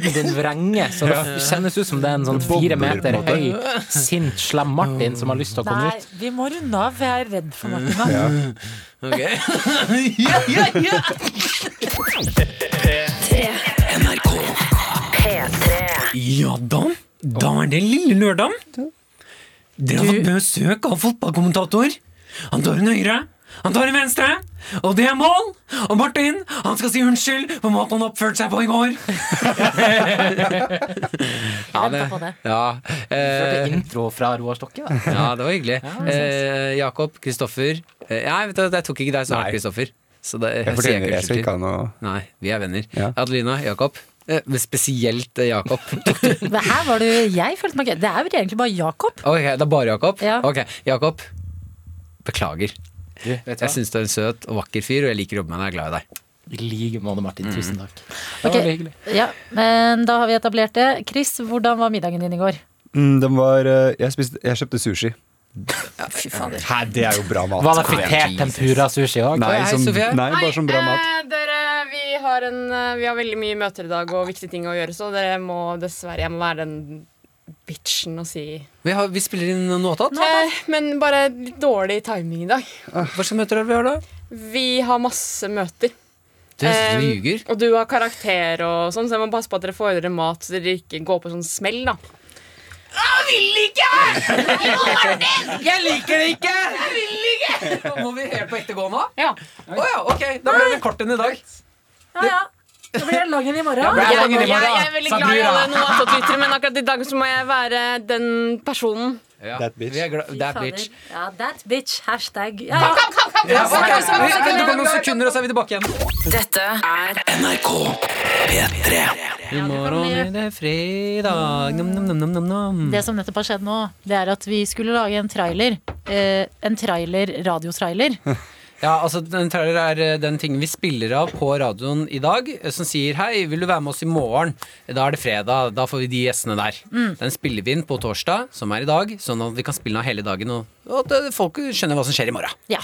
Huden din vrenger, så det kjennes ut som det er en sånn fire meter høy, sint, slem Martin som har lyst til å komme Nei, ut. vi må runde av. Jeg er redd for Martin nå. Ok. ja, ja, ja. NRK. Ja, da. Da er det lille lørdag. Dere har fått besøk av fotballkommentator. Han tar en høyre, han tar en venstre, og det er mål! Og Martin han skal si unnskyld for måten han oppførte seg på i går. ja, eh, ventet på det. Hørte intro fra Roar Stokke, da. Ja, det var hyggelig. Eh, Jakob, Kristoffer eh, Nei, vet du, hva, jeg tok ikke deg, så har Nei. jeg Kristoffer. Så det Jeg sier fortjener jeg ikke jeg skal unnskyld ikke til. ha noe Nei, vi er venner. Ja. Adelina, Jakob. Eh, men spesielt eh, Jakob. Men her var du Jeg følte meg gøy. Det er jo egentlig bare Jakob. Ok, det er bare Jakob? Ja. Ok, Jakob. Beklager. Du, vet du Jeg hva? syns du er en søt og vakker fyr, og jeg liker å jobbe med deg. Jeg er glad i deg. I like måte, Martin. Tusen takk. Det var Ok. veldig hyggelig. Ja, men da har vi etablert det. Chris, hvordan var middagen din i går? mm, Den var eh, jeg, spiste, jeg kjøpte sushi. Fy fader. Hæ, det er jo bra mat. Var det fritert tempura-sushi òg? Nei, Hei, som, Sofie. nei bare som bra mat. eh, dere, vi har, en, eh, vi har veldig mye møter i dag og viktige ting å gjøre, så dere må dessverre Jeg må være den bitchen og si Vi, har, vi spiller inn noe annet. eh, Men bare litt dårlig timing i dag. Hva slags møter er det vi har da? Vi har masse møter. Du Eh, ljuger. og du har karakter og sånn, så jeg må passe på at dere får i dere mat, så dere ikke går på sånn smell, da. Ah, Jeg liker det ikke! Jeg vil ikke! Må vi helt på ekte gå nå? Ja. Å ja, ok. Da ble det kort enn i dag. Ja, ja. Det blir lang i morgen. Jeg, jeg, Dagen i morgen, jeg er veldig glad i Sakura. alle noen attåtlyttere, men akkurat i dag så må jeg være den personen Ja. That bitch. eh, Vi er glad- that Fy bitch. fader. Ja, that bitch. Hashtag. Ja, ja. Ja, ok, så vi- Det går noen sekunder, og så er vi tilbake igjen. Dette er NRK P3. I morgen er det fredag. Nam, nam, nam, nam, nam, nam. Det som nettopp har skjedd nå, det er at vi skulle lage en trailer. Eh, en trailer, radiotrailer. Ja, altså Den trailer er eh, den tingen vi spiller av på radioen i dag, eh, som sier 'Hei, vil du være med oss i morgen?' Da er det fredag. Da får vi de gjestene der. Den spiller vi inn på torsdag, som er i dag, sånn at vi kan spille den av hele dagen, og, og at eh, folk skjønner hva som skjer i morgen. Ja.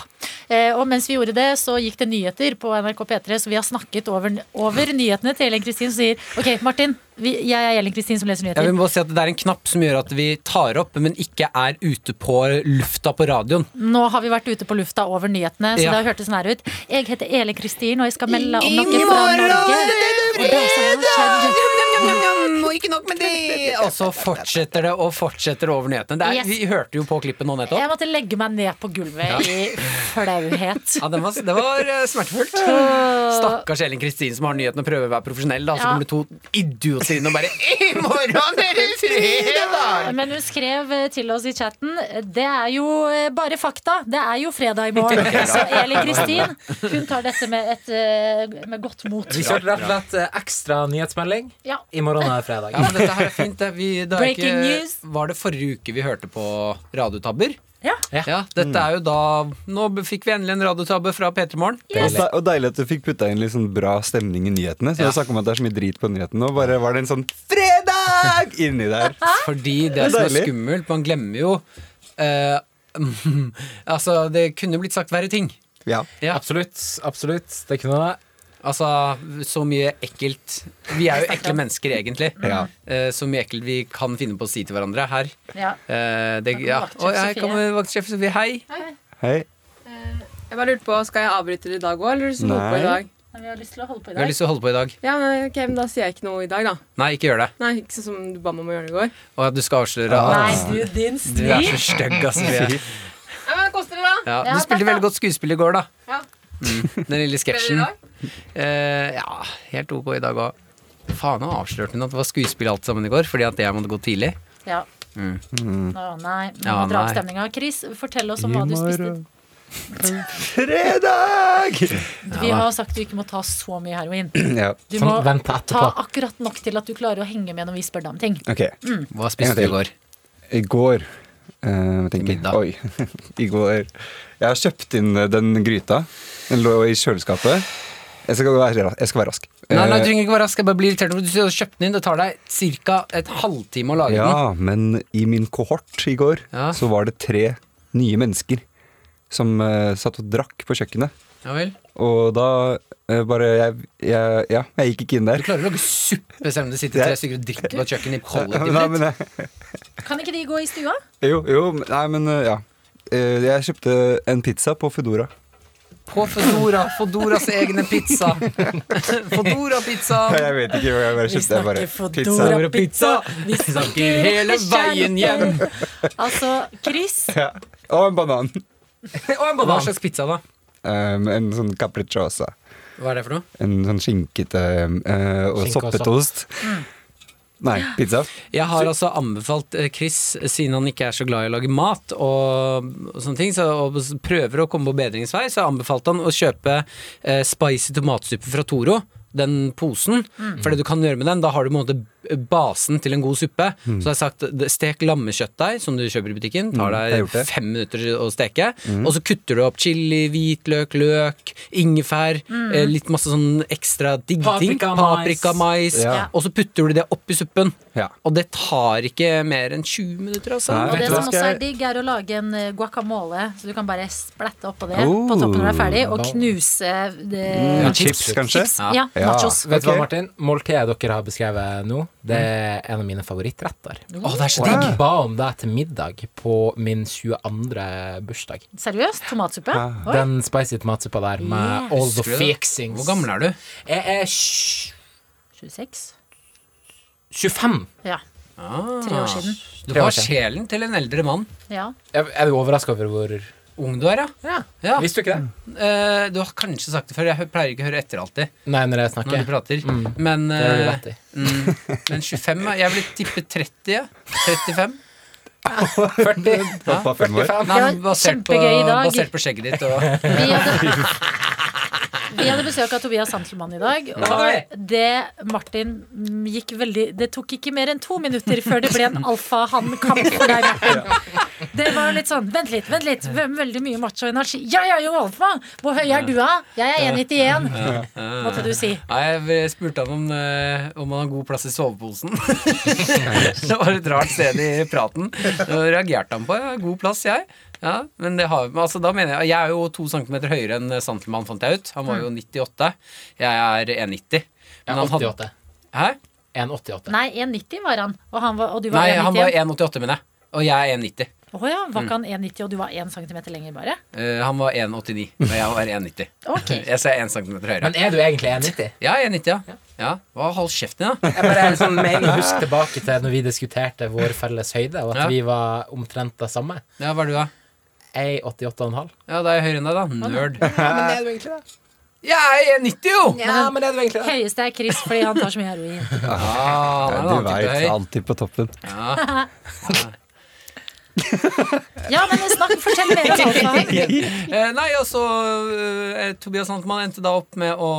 Eh, og mens vi gjorde det, så gikk det nyheter på NRK P3, så vi har snakket over, over nyhetene til Ellen Kristin, som sier OK, Martin. Vi, jeg er Ellen Kristin som leser Jeg nyheter. vil bare si at Det er en knapp som gjør at vi tar opp, men ikke er ute på lufta på radioen. Nå har vi vært ute på lufta over nyhetene, så Ja. det har hørtes sånn her ut. Jeg heter Elin Kristin, og jeg skal melde om noe fra Norge. Og det som har skjedd Og ikke nok med det! Og så fortsetter det og fortsetter det over nyhetene. Det er, Yes. Vi hørte jo på klippet nå nettopp. Jeg måtte legge meg ned på gulvet i flauhet. Ja, den var, det var eh, smertefullt. Stakkars Ellen Kristin som har nyheten og prøver å være profesjonell. Da, så Ja. kommer det to idioter inn og bare I morgen er det fredag! Men hun skrev eh, til oss i chatten Det er jo eh, bare fakta. Det er jo fredag i morgen. Så Elin Kristin hun tar dette med, et, eh, med godt mot. Vi kjørte rett og slett eh, ekstra nyhetsmelding. Ja. I morgen er det fredag. Ja, men dette her er fint. Det, er vi, det er Breaking ikke, news. Var det forrige uke vi hørte på radiotabber? Ja. Ja. Ja, dette Mm. er jo da Nå fikk vi endelig en radiotabbe fra P3 Morgen. Og, de- og deilig at du fikk putta inn litt sånn bra stemning i nyhetene. Så Ja. jeg snakker om at det er så mye drit på nyhetene Nå bare var det en sånn fredag inni der. Fordi det er som er deilig. skummelt, man glemmer jo eh, Altså, det kunne blitt sagt verre ting. Ja. Ja. Absolutt. absolutt Det kunne det. Altså, så mye ekkelt Vi er jo ekle mennesker, egentlig. Ja. Eh, Så mye ekkelt vi kan finne på å si til hverandre her. Ja. Eh, Det, ja. Vaktsjef Å, hei, Sofie. kom, vaktsjef Sofie. Hei. Hei. Jeg bare lurte på, Skal jeg avbryte det i dag òg, eller har du lyst til å holde på i Nei. dag? Men vi har lyst til å holde på i Vi har dag. lyst til å holde på i dag. Ja, men, ok, men Da sier jeg ikke noe i dag, da. Nei, ikke gjør det. Nei, Ikke sånn som du ba meg om å gjøre det i går. Og du skal avsløre Nei, at du, din du stil. er så stygg, altså. Sofie. Ja, men det koster det, da. Ja. Ja, Du spilte takk, da. veldig godt skuespill i går, da. Ja. Mm, Den lille Bedre i sketsjen. dag? Eh, Ja, helt ok i dag òg. Faen, nå avslørte hun at det var skuespill alt sammen i går, fordi at jeg måtte gå tidlig. Ja. Å nei, nå Ja, drar opp nei. stemninga. Chris, fortell oss om I hva du spiste. morgen. Fredag! Vi har sagt du ikke må ta så mye heroin. Ja, Du Sånn, må vent til ta etterpå. akkurat nok til at du klarer å henge med når vi spør deg om ting. ok. Hva spiste du i går? I går eh, jeg tenker, Middag. Oi. I går Jeg har kjøpt inn eh, den gryta. Den lå i kjøleskapet. Jeg skal være, ra- jeg skal være rask. Nei, nei, Eh, du trenger ikke være rask. Jeg bare blir irritert. når Du kjøper den inn, det tar deg ca. et halvtime å lage den. Ja, men i min kohort i går Ja. så var det tre nye mennesker som eh, satt og drakk på kjøkkenet. Ja vel. Og da eh, bare jeg, jeg, Ja, jeg gikk ikke inn Du der. klarer å lage suppe selv om det sitter tre stykker og drikker på kjøkkenet i kollektivet Nei, men, ditt. jeg- Kan ikke de gå i stua? jo, jo, men- nei, men eh, ja. Eh, Jeg kjøpte en pizza på Foodora. På Fodora. Fodoras egne pizza. Fodora-pizza. Jeg vet ikke hva jeg bare kjøpte. Jeg bare, pizza. Fodora pizza. Vi snakker hele veien hjem. Altså, Chris Ja. Og en banan. Og en banan. Hva slags pizza, da? Um, en sånn capricciosa. Hva er det for noe? En sånn skinkete um, eh, og Skinke og sopp. soppetost. Mm. Nei, pizza. Jeg har altså anbefalt eh, Chris, siden han ikke er så glad i å lage mat og, og sånne ting, så, og s- prøver å komme på bedringens vei, så anbefalte han å kjøpe eh, spicy tomatsuppe fra Toro. Den posen. Mm. For det du kan gjøre med den, da har du på en måte basen til en god suppe. Så har jeg sagt det- stek lammekjøttdeig, som du kjøper i butikken. Tar jeg har deg gjort Mm. det. Mm. fem minutter å steke. Og så kutter du opp chili, hvitløk, løk, ingefær. Mm. eh, Litt masse sånn ekstra digg ting. Paprika, mais. Paprika, mais. Ja. Og så putter du det oppi suppen. Ja. Og det tar ikke mer enn 20 minutter, altså. Nei. Og det Vet du hva, som også skal er digg, er å lage en eh, guacamole. Så du kan bare splette oppå det Oh. på toppen når det er ferdig, og knuse det, Ja, chips, kanskje? chips. Ja. Ja, Ja. nachos. Vet du hva, Ok. Martin? Måltidet dere har beskrevet nå, det er en av mine favorittretter. Å, det er så Og digg! jeg ba om det til middag på min 22. bursdag. Seriøst? Tomatsuppe? Oi. Den spicy tomatsuppa der med all Husker the du det? fixings. Hvor gammel er du? Jeg er sj- 26? 25. Ja. Tre år siden. Du Ah. Tre år har siden. sjelen til en eldre mann. Ja. Er er du overraska over hvor Ung du er, ja. ja. Visste du ikke det? Eh, du har kanskje sagt det før. Jeg hø- pleier ikke å høre etter alltid Nei, når jeg når du snakker. prater. Men, Det har du eh, rett i. mm, men 25 ja. Jeg ville tippet 30, ja. 35. 40. Hva sa fem år? Nei, Det var basert på, kjempegøy i dag. basert på skjegget ditt og Vi hadde, vi hadde besøk av Tobias Santelmann i dag. hadde Og det Martin mm, gikk veldig Det tok ikke mer enn to minutter før det ble en alfahann-kamp for deg, Martin. Det var litt sånn Vent litt, vent litt. ve- Veldig mye macho energi. Ja, jeg er jo alfa! Hvor høy er du, da? Jeg er 1,91, måtte du si. Nei, jeg spurte han om, eh, om han har god plass i soveposen. det var et rart sted i praten. Da reagerte han på ja, god plass, jeg. Ja, men det har, men altså, da mener jeg, jeg er jo to centimeter høyere enn Santelmann, fant jeg ut. Han var jo 98. Jeg er 1,90. Men han hadde- 88. Hæ? 1,88. Nei, 1,90 var han. Og, han var, og du var Nei, han var Mm. 1,91. 1,88, mener jeg. Og jeg er 1,90. Å ja, var ikke han 1,90, og du var 1 cm lenger, bare? Eh, han var 1,89, og jeg var 1,90. Ok. Jeg ser 1 centimeter høyere. Men er du egentlig 1,90? Ja, 1,90, ja. ja. Hva, hold kjeften din, da. Jeg bare en sånn mening Husk tilbake til når vi diskuterte vår felles høyde, og at Ja. vi var omtrent det samme. Ja, hva er du, da? 1,88,5. Ja, da er jeg høyere enn deg, da. Nerd. Ja, men er du egentlig det? Jeg er 1,90, jo! Ja, men er du egentlig det? Høyeste er Chris fordi han tar så mye heroin. Ah, han er Du en annen type veit, høy. alltid på toppen. Ja. Ja, men snakk, fortell mer om alfahann. Eh, nei, altså eh, Tobias Santmann endte da opp med å,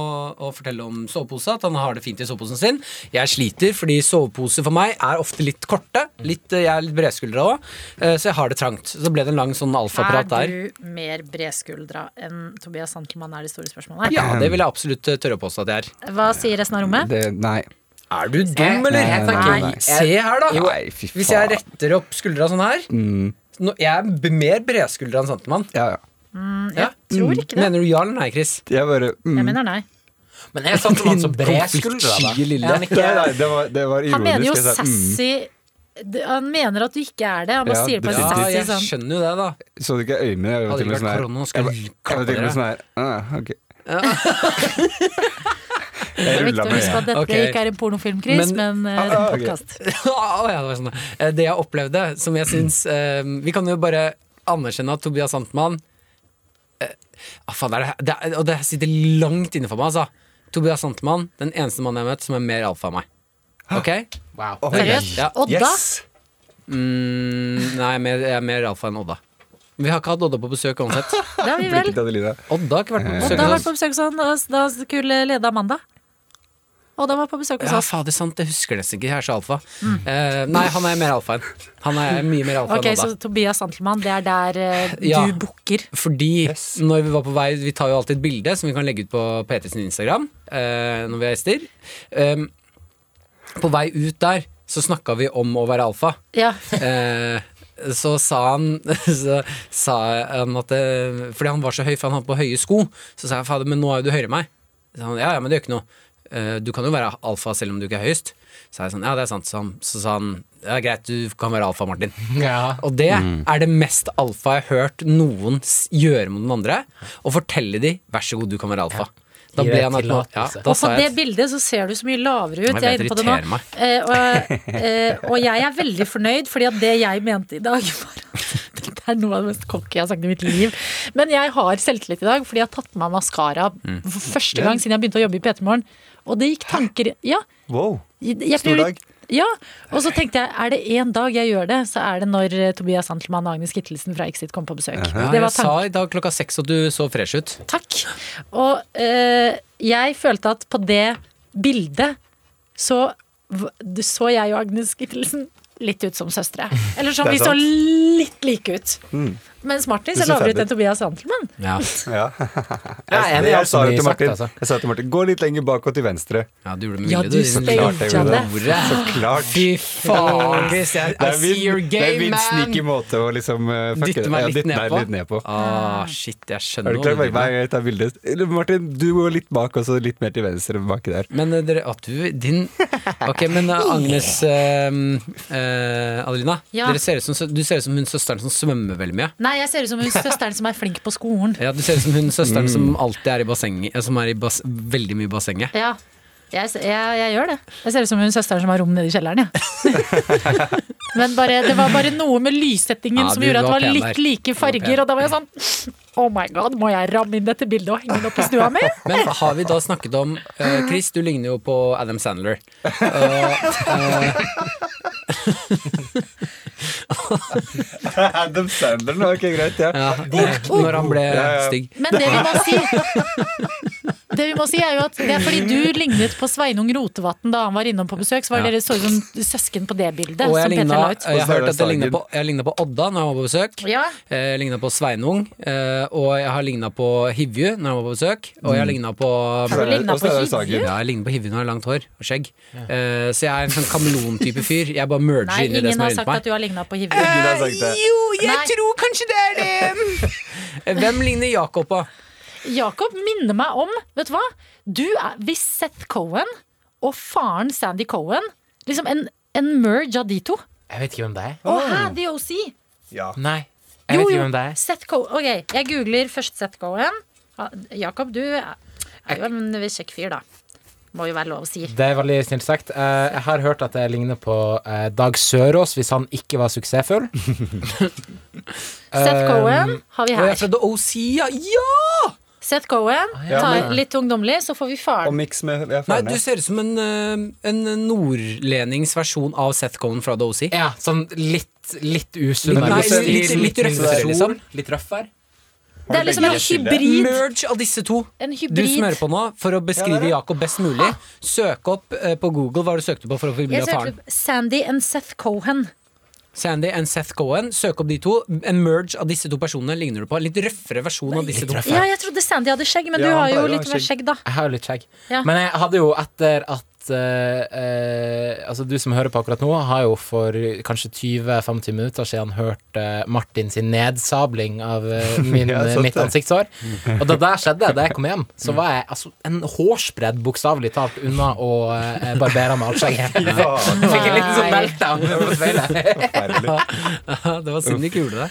å fortelle om sovepose, at han har det fint i soveposen sin. Jeg sliter, fordi soveposer for meg er ofte litt korte. Litt, eh, jeg er litt bredskuldra òg, eh, så jeg har det trangt. Så ble det en lang sånn alfaprat der. Er du mer bredskuldra enn Tobias Santelmann er det store spørsmålet? Ja, det vil jeg absolutt eh, tørre å påstå at jeg er. Hva sier resten av rommet? Det, nei. Er du dum, eller? Jeg tenker, Nei. Se her, da. Nei, fy faen. Mm. Hvis jeg retter opp skuldra sånn her nå, Jeg er b- mer bredskuldra enn Santemann. Ja, ja. Ja. Tror ikke det. Mm. Mener du ja eller nei, Chris? Jeg bare mm. Jeg mener nei. Men er Santelmann så bredskuldra, altså da? Konfliktsky lille. Er han ikke Nei, nei, det var, det var ironisk. Han mener jo jeg sa, mm. sassy d- Han mener at du ikke er det. Han bare Ja, sier det på en Ja, sassy jeg sånn. skjønner jo det, da. Så du ikke øynene? Jeg var Hadde til og ikke med vært sånn her. korona, nå Jeg skal var jeg jeg var kalle til og med dere sånn her ah, ok. Det Jeg er viktig rulla å med huske at dette Ok. ikke er en pornofilm, Chris, men, Men- eh, en Ah, ok. podkast. Å, ja, det, var sånn. Eh, det jeg opplevde, som jeg syns eh, Vi kan jo bare anerkjenne at Tobias Santmann eh, ah, faen, det er, det er, Og det sitter langt inne for meg, altså. Tobias Santmann, den eneste mannen jeg har møtt som er mer alfa enn meg. Ok? Wow. Seriøst? Ja. Odda? Mm, nei, mer, jeg er mer alfa enn Odda. Vi har ikke hatt Odda på besøk uansett. Det har vi vel. Blikket til Adelina. Odda har ikke vært på Odda besøk har vært på hos oss. besøk hos han, og da skulle lede Amanda. Odda var på besøk hos Ja, oss. fader, sant, jeg husker nesten ikke. Jeg er så alfa. Eh, nei, han er mer alfa enn. Han er mye mer alfa Ok, enn Odda. Så Tobias Santelmann, det er der eh, Ja. du bukker. Fordi når vi var på vei Vi tar jo alltid et bilde som vi kan legge ut på PT sin Instagram eh, når vi er gjester. Um, på vei ut der så snakka vi om å være alfa. Ja. Eh, så sa han Så sa han at eh, Fordi han var så høy, for han hadde på høye sko. Så sa jeg fader, men nå er jo du høyere enn meg. Så han, ja, ja, men det gjør ikke noe. Eh, Du kan jo være alfa selv om du ikke er høyest. Så, jeg sånn, ja, det er sant. Så, han, så sa han ja, greit, du kan være alfa, Martin. Ja. Og det er det mest alfa jeg har hørt noen s- gjøre mot noen andre. Og fortelle de 'vær så god, du kan være alfa'. Da Gi ble deg han automat- ja, tillatelse. da Og på sa det jeg bildet så ser du så mye lavere ut. Jeg Jeg, er vet, inne på det nå. irriterer meg. Eh, og, eh, og jeg er veldig fornøyd, fordi at det jeg mente i dag, var at det er noe av det mest cocky jeg har sagt i mitt liv. Men jeg har selvtillit i dag, fordi jeg har tatt på meg maskara Mm. for første gang siden jeg begynte å jobbe i P3 Morgen. Og det gikk tanker Ja. Wow. Jeg, jeg Stor priori- dag. Ja, og så tenkte jeg, er det én dag jeg gjør det, så er det når eh, Tobias Santelmann og Agnes Kittelsen fra Exit kom på besøk. ja, Det Jeg var tanken. sa i dag klokka seks at du så fresh ut. Takk. Og eh, jeg følte at på det bildet så v- du så jeg og Agnes Kittelsen litt ut som søstre. Eller sånn, Det vi er så sant. litt like ut. Mm. Mens Martin ser ser lavere ut fæl enn Tobias Santelmann. Ja, Ja. Jeg er enig i alt Jeg sa som blir det til sagt, Martin. altså. Jeg sa det til Martin. Gå litt lenger bak og til venstre. ja du gjorde det med Ja, vilje, du du. din lille- klart jeg staged gjorde det. Så klart. Fy faen, Chris. Jeg, I min, see your det er game, min man. sneaky måte å liksom eh, fucke Dytte det. meg Ja, litt dytte ned meg på. litt ned på. Ah, shit, jeg skjønner Er du hva klar? du Hver driver med. gang jeg tar bildet Eller, Martin, du går litt bak og så litt mer til venstre baki der. Men eh, dere At du Din Ok, men eh, Agnes eh, eh, Adelina. Ja. Dere ser ut som, sø- du ser ut som hun søsteren som svømmer veldig mye. Nei, jeg ser ut som hun søsteren som er flink på skolen. Ja, Du ser ut som hun søsteren som Mm. alltid er i bassenget eh, Som er i bas veldig mye i bassenget. Ja, jeg, s- jeg, jeg gjør det. Jeg ser ut som hun søsteren som har rom nede i kjelleren, jeg. Men bare, det var bare noe med lyssettingen Ja, som du gjorde at det var var pen litt der. like Du var pen. farger, og da var jeg sånn Oh my god, må jeg ramme inn dette bildet og henge det opp i stua mi? Men har vi da snakket om eh, Chris, du ligner jo på Adam Sandler. Og, eh, Adam Sandler nå, ok, greit, ja. Ja, eh, når han ble Ja, ja. stygg. Men det vi må si Det vi må si er jo at det er fordi du lignet på Sveinung Rotevatn da han var innom på besøk, så var Ja. dere så ut som søsken på det bildet. Og jeg som Petra ligna, la ut. jeg Og så er hørte det at jeg ligna Sagen. på, jeg lignet på Odda når han var på besøk. Ja. Jeg ligna på Sveinung, eh, og jeg har ligna på Hivju når han var på besøk. Og jeg ligna på Har du lignet på Åsne Hivju? Sagen. ja, jeg ligner altså, på Hivju når jeg har langt hår og skjegg. Eh, så jeg er en sånn kameleontype fyr. Jeg bare merger Nei, inn i ingen det har som er rundt sagt at meg. du har ligna på Hivju. Ingen har sagt det. Jo, jeg Nei. tror kanskje det er det! Hvem ligner Jakob på? Jakob minner meg om, vet du hva? Du er, hvis Seth Cohen og faren Sandy Cohen Liksom en, en merge av de to. Jeg vet ikke hvem det er. Og her, The OC! Ja. Nei. Jeg vet ikke hvem det er. Seth Cohen. Ok, jeg googler først Seth Cohen. Ja, Jakob, du er er jo en kjekk fyr, da. Må jo være lov å si. Det er veldig snilt sagt. Eh, jeg har hørt at det ligner på eh, Dag Sørås hvis han ikke var suksessfull. Seth Cohen har vi Og jeg er her. fra The OC, ja! ja! Seth Cohen, ja, ta men- litt ungdommelig, så får vi Og faren. miks med jeg er Nei, ferdig. du ser ut som en, eh, en nordlendingsversjon av Seth Cohen fra The OC. Ja, sånn litt, litt usunn. Litt- Litt, nei, litt- litt røffere, liksom. Litt røffere. Det er liksom en hybrid. Merge av disse to. En Du smører hybrid. på nå for å Ja, det beskrive er det. Jakob best mulig. Søk opp eh, på Google hva du søkte på for å få bilde Jeg av faren. søkte Sandy and Seth Cohen. Sandy and Seth Cohen. Søk opp de to. En merge av disse to personene ligner du på. En litt røffere versjon av disse to. røffere. Ja, jeg trodde Sandy hadde skjegg, men Ja, du han har jo pleier å ha litt mer skjegg, da. Jeg har jo litt skjegg. Ja. Men jeg hadde jo etter at eh, eh, Altså, du som hører på akkurat nå, har jo for kanskje 20-25 minutter siden hørt eh, Martin sin nedsabling av eh, min, Ja, sant mitt det. Mm. ansiktshår. Og da det skjedde, da jeg kom hjem, så var jeg altså, en hårsbredd, bokstavelig talt, unna å eh, barbere meg alt skjegget. Ja, Jeg fikk en liten sånn belte av meg på speilet. forferdelig. Ja, det var synd de ikke gjorde det.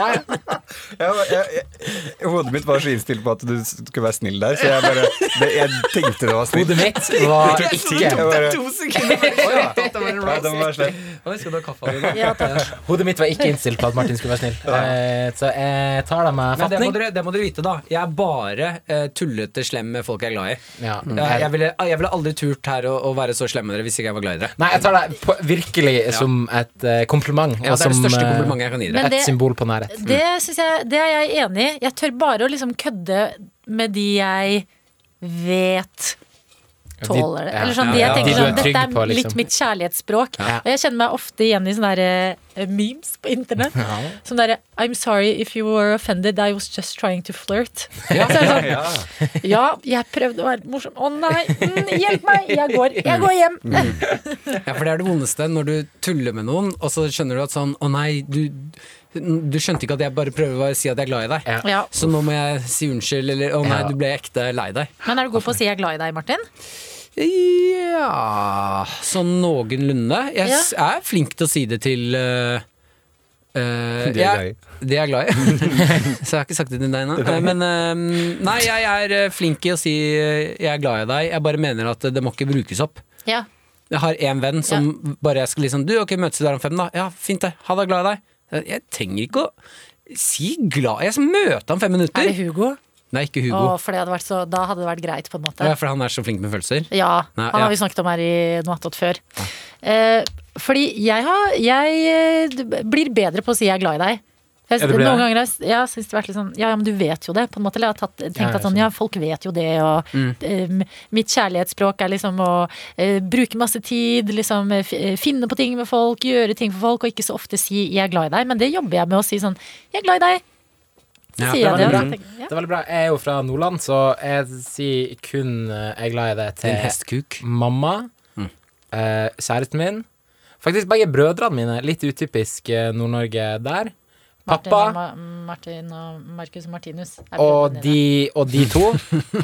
Ja, ja. Jeg var- jeg- jeg- Hodet mitt var så innstilt på at du skulle være snill der, så jeg bare det, Jeg tenkte det var snill. Hodet mitt var ikke Jeg bare, To sekunder! å ja. Ja, det må være slett. Oi, skal du ha kaffe av det? Ja, takk. Hodet mitt var ikke innstilt på at Martin skulle være snill. Eh, så jeg tar det med Men det må, fatning. dere, det må dere vite, da. Jeg er bare eh, tullete slem med folk jeg er glad i. Ja, Jeg, jeg, ville, jeg ville aldri turt her å, å være så slem med dere hvis ikke jeg var glad i dere. Nei, jeg tar det på, virkelig som et eh, kompliment. Ja, og det er det som, største eh, komplimentet jeg kan gi dere. Men Et det- symbol på nærhet. Det, synes jeg, det er jeg enig i. Jeg tør bare å liksom kødde med de jeg vet tåler det. ja, Eller sånn, de jeg ja, ja. tenker De du sånn, er trygg Dette på, er liksom. litt mitt kjærlighetsspråk. Ja. Og jeg kjenner meg ofte igjen i sånne der, eh, memes på internett. Som derre I'm sorry if you were offended, I was just trying to flirt. Ja, så er det sånn, Ja. ja jeg prøvde å være morsom. Å nei, mm, hjelp meg! Jeg går, jeg går hjem! Ja, for det er det vondeste når du tuller med noen, og så skjønner du at sånn Å nei, du, du skjønte ikke at jeg bare prøver å si at jeg er glad i deg. Ja. Ja. Så nå må jeg si unnskyld, eller å nei, Ja. du ble ekte lei deg. Men er du god på å si 'jeg er glad i deg', Martin? Ja Sånn noenlunde. Jeg s- er flink til å si det til eh, eh, De er jeg- De er glad i. så jeg har ikke sagt det til deg ennå. Eh, Men eh, nei, jeg er eh, flink i å si eh, jeg er glad i deg. Jeg bare mener at eh, det må ikke brukes opp. Ja. Jeg har en venn som bare jeg skal liksom Du, ok, møtes vi der om fem, da? Ja, fint det. Ha det, glad i deg. Jeg- Jeg trenger ikke å si glad Jeg skal møte ham fem Er det minutter. Hugo? Nei, Å, ikke Hugo. for det hadde vært så, da hadde det vært greit, på en måte. Ja, for han er så flink med følelser. Ja, Nei, han ja. har vi snakket om her i noe attåt før. Eh, fordi jeg, har, jeg eh, d- blir bedre på å si jeg er glad i deg. Jeg, Ja, du blir noen det? ganger har jeg s- jeg har syntes det har vært litt sånn Ja, ja, men du vet jo det, på en måte. Eller jeg har tatt, tenkt Ja, jeg at sånn, ja, folk vet jo det, og eh, mitt kjærlighetsspråk er liksom å eh, bruke masse tid, liksom eh, f- eh, finne på ting med folk, gjøre ting for folk, og ikke så ofte si jeg er glad i deg. Men det jobber jeg med å si sånn jeg er glad i deg. Så Ja, sier jeg det det. var og da bra. tenker jeg, ja. Det er veldig bra. Jeg er jo fra Nordland, så jeg sier kun eh, 'jeg er glad i deg' Til til hestkuk. mamma, Mm. eh, kjæresten min Faktisk begge brødrene mine. Litt utypisk eh, Nord-Norge der. Martin, Pappa og Ma- Martin og Marcus og Martinus. er og brødrene dine. de, og de to.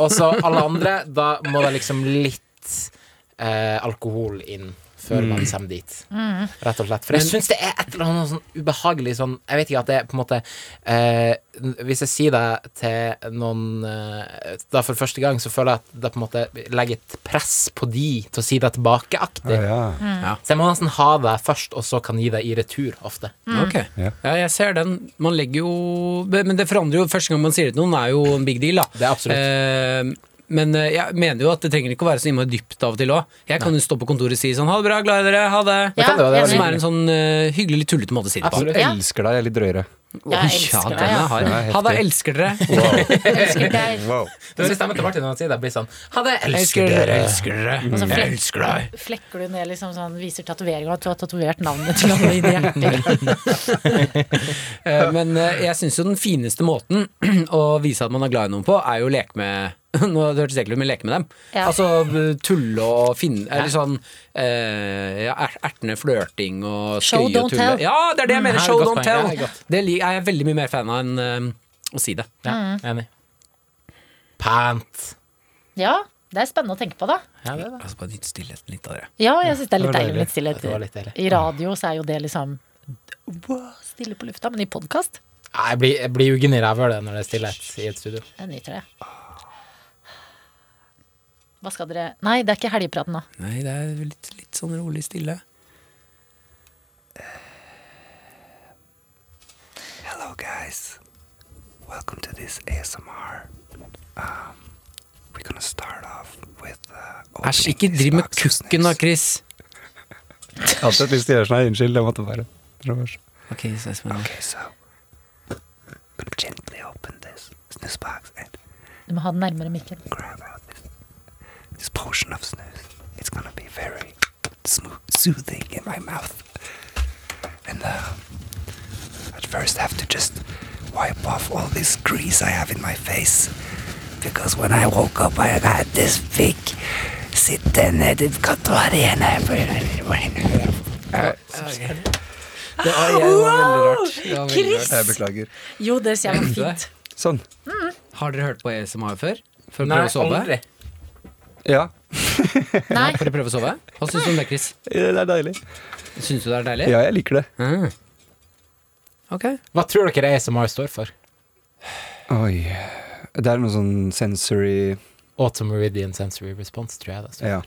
Og så alle andre. Da må det liksom litt eh, alkohol inn før man Mm. kommer dit. Rett og slett. For jeg syns det er et eller annet sånn ubehagelig sånn Jeg vet ikke at det er på en måte eh, Hvis jeg sier det til noen eh, da for første gang, så føler jeg at det på en måte legger et press på de til å si det tilbakeaktig. Ja. Mm. Mm. Så jeg må nesten ha det først, og så kan gi det i retur ofte. Mm. Ok. Ja. Ja, jeg ser den. Man legger jo Men det forandrer jo Første gang man sier det til noen, er jo en big deal, da. Det er absolutt. Eh, Men eh, jeg mener jo at det trenger ikke å være så innmari dypt av og til òg. Jeg kan jo stå på kontoret og si sånn ha det bra, glad i dere, ha det. Ja, kan det være, det Som enig. er en sånn eh, hyggelig, litt tullete måte å si det på. Absolutt. Jeg Ja. elsker deg, jeg er litt drøyere. Jeg Ja, elsker den deg. er Ja. hard. Den er heftig. Ha det, elsker dere. Jeg elsker deg. Wow. Så hvis stemmen til Martin når han sier det, blir sånn Ha det, Elsker elsker dere, dere. elsker dere. så Jeg flink. elsker deg. Flekker du ned liksom sånn, viser tatoveringa at du har tatovert navnet til alle inn i hjertet. Eh, Men eh, jeg syns jo den fineste måten å vise at man er glad i noen på, er jo å leke med nå hørtes det ekkelt ut, men leke med dem. Ja. Altså eh, tulle og finne Eller sånn eh, ja, er- ertende flørting og Show, skøye og don't tulle. tell. Mm, Ja, det er det jeg her mener! er Show, godt don't poeng, ja, tell. det er godt. Det li- er jeg veldig mye mer fan av enn eh, å si det. Ja, Mm. enig. Pant. Ja, det er spennende å tenke på, da. Ja, det er det. Altså bare litt stillheten litt av det. Ja, jeg syns det er Det litt var deilig med litt deilig. Det var litt stillhet. deilig. I radio så er jo det liksom wow, stille på lufta, men i podkast Nei, Jeg blir, jeg blir uggen i rævhølet når det er stillhet i et studio. jeg nyter det. Hva skal dere Nei, det er ikke helgepraten nå. Nei, det er litt, litt sånn rolig stille. Hello, guys. Welcome to this ASMR. Um, we're gonna start off with. Uh, Æsj, opening ikke these driv med boxes kukken da, next. Chris. Alltid lyst til å gjøre sånn her. Unnskyld, jeg måtte bare. Det var så- Ok, så jeg spør. Okay, so I'm gonna gently open this snooze box and Du må ha den nærmere mikken. grab out this this potion of snooze. It's gonna be very smooth, soothing in my mouth. And uh, at first, I have to just wipe off all this grease I have in my face, because when I woke up, I had this big sittenheaded katori and everywhere. Det var, jeg, det var veldig rart. Det var veldig rart. Jeg beklager. Jo, det ser jeg var fint. Sånn. Har dere hørt på ASMR før? For å prøve å sove? aldri. Ja. Nei, For å prøve å sove? Hva syns du om det, Chris? Det er deilig. Syns du det er deilig? Ja, jeg liker det. Mm. Ok. Hva tror dere ASMR står for? Oi. Det er noe sånn sensory Automeridian Sensory Response, tror jeg det står. Ja.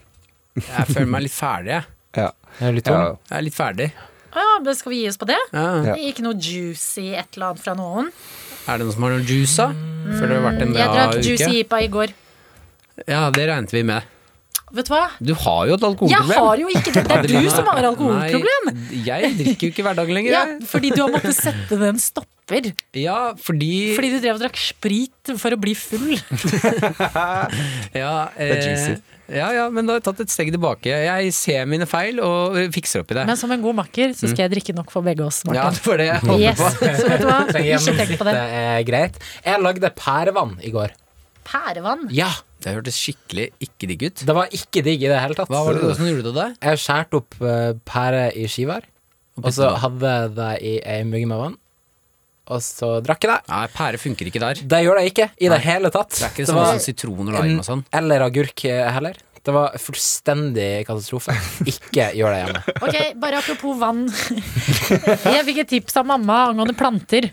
Jeg føler meg litt ferdig, jeg. Ja. Er du litt tung? ja. Jeg er litt ferdig. ah, men skal vi gi oss på det? Ja. Ja. Ikke noe juicy et eller annet fra noen. Er det noen som har noe juice, da? Føler det har vært en Mm. Jeg bra drakk uke? juicy ipa i går. Ja, det regnet vi med. Vet du hva? Du har jo et Jeg alkoholproblem. har jo ikke det! Det er du som har alkoholproblem! Nei, jeg drikker jo ikke i hverdagen lenger. Ja, jeg. fordi du har måttet sette den stopper. ja fordi, Fordi du drev og drakk sprit for å bli full. ja, er eh, juicy. ja, ja, men da har jeg tatt et steg tilbake. Jeg ser mine feil og eh, fikser opp i det. Men som en god makker så skal jeg drikke nok for begge oss. ja, Martin. det var det jeg håper Yes, på. så vet du hva? Ikke tenk Så på Gjennomsnittet det. er greit. Jeg lagde pærevann i går. Pærevann. Ja, Det hørtes skikkelig ikke digg ut. Det var ikke digg i det hele tatt. Hva var det du som gjorde det? Jeg skjærte opp eh, pære i skiver, og så hadde jeg det i ei mugge med vann, og så drakk jeg det. Nei, pære funker ikke der. Det gjør det ikke i det hele tatt. Det er ikke det Det samme som var- sitron og lime og sånn. Eller agurk eh, heller. Det var fullstendig katastrofe. Ikke gjør det hjemme. Ok, bare apropos vann. Jeg fikk et tips av mamma angående planter.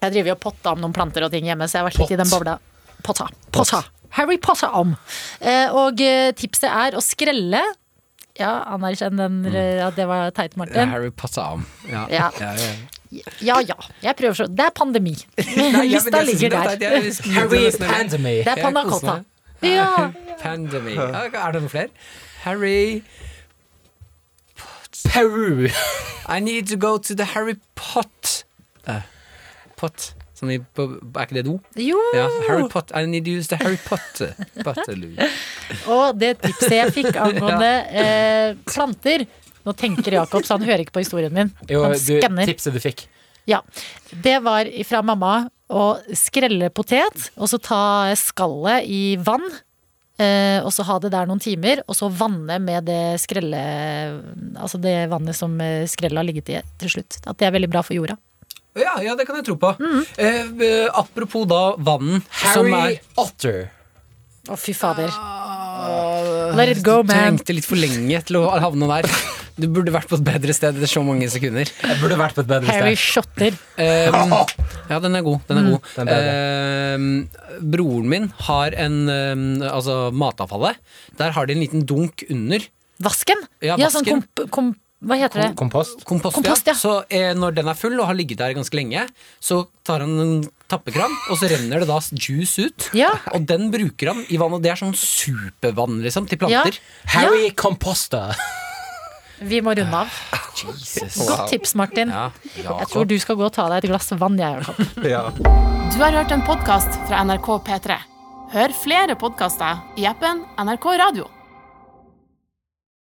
Jeg driver jo og potta om noen planter og ting hjemme, så jeg har vært litt i den bobla. Potta. Potta. Harry Potter om. Eh, Og eh, tipset er å skrelle. Ja, anerkjenn den, eh, at det var teit, Det er Martin. Mm. Harry Potter om. Ja. Ja. Ja, ja. Ja ja, jeg prøver så. Det er pandemi. Ja, men Lista jeg synes ligger det er der. teit. Jeg visste ikke Harry det var sånn. Pandemy. Det er panna Jeg koser cotta. meg. Ja. Pandemi. Ja, Er det noen flere? Harry Peru. I need to go to the Harry Pot. Eh, pot. Som i på, Er ikke det do? Jo. Ja. Harry Pot. I need to use the Harry Pot. Potterloo. Og det tipset jeg fikk angående eh, planter Nå tenker Jakob, så han hører ikke på historien min. Jo, han du, skanner. tipset du fikk. Ja. Det var fra mamma å skrelle potet, og så ta skallet i vann. Eh, og så ha det der noen timer, og så vanne med det skrelle Altså det vannet som eh, skrellet har ligget i til slutt. At det er veldig bra for jorda. Ja, ja, det kan jeg tro på. Eh, eh, apropos da vann, som er Mm. Harry Otter. Å, fy fader. Let it go, Du man. trengte litt for lenge til å havne der. Du burde vært på et bedre sted etter så mange sekunder. Jeg burde vært på et bedre Harry sted. shotter. Um, ja, den er god. Den er god. Mm. Den er Um, broren min har en um, Altså, matavfallet. Der har de en liten dunk under. Vasken? Ja, sånn vasken. komp... komp Hva heter det? Kompost. Kompost, Kompost, ja. ja. Så eh, når den er full og har ligget der ganske lenge, så tar han en tappekran, og så renner det da juice ut. Ja. Og den bruker han i vann, og det er sånn supervann liksom, til Ja. planter. Harry Composta. Vi må runde av. Jesus. Godt tips, Martin. Ja, Jeg tror du skal gå og ta deg et glass vann, jeg, Jakob. Ja. Du har hørt en podkast fra NRK P3. Hør flere podkaster i appen NRK Radio.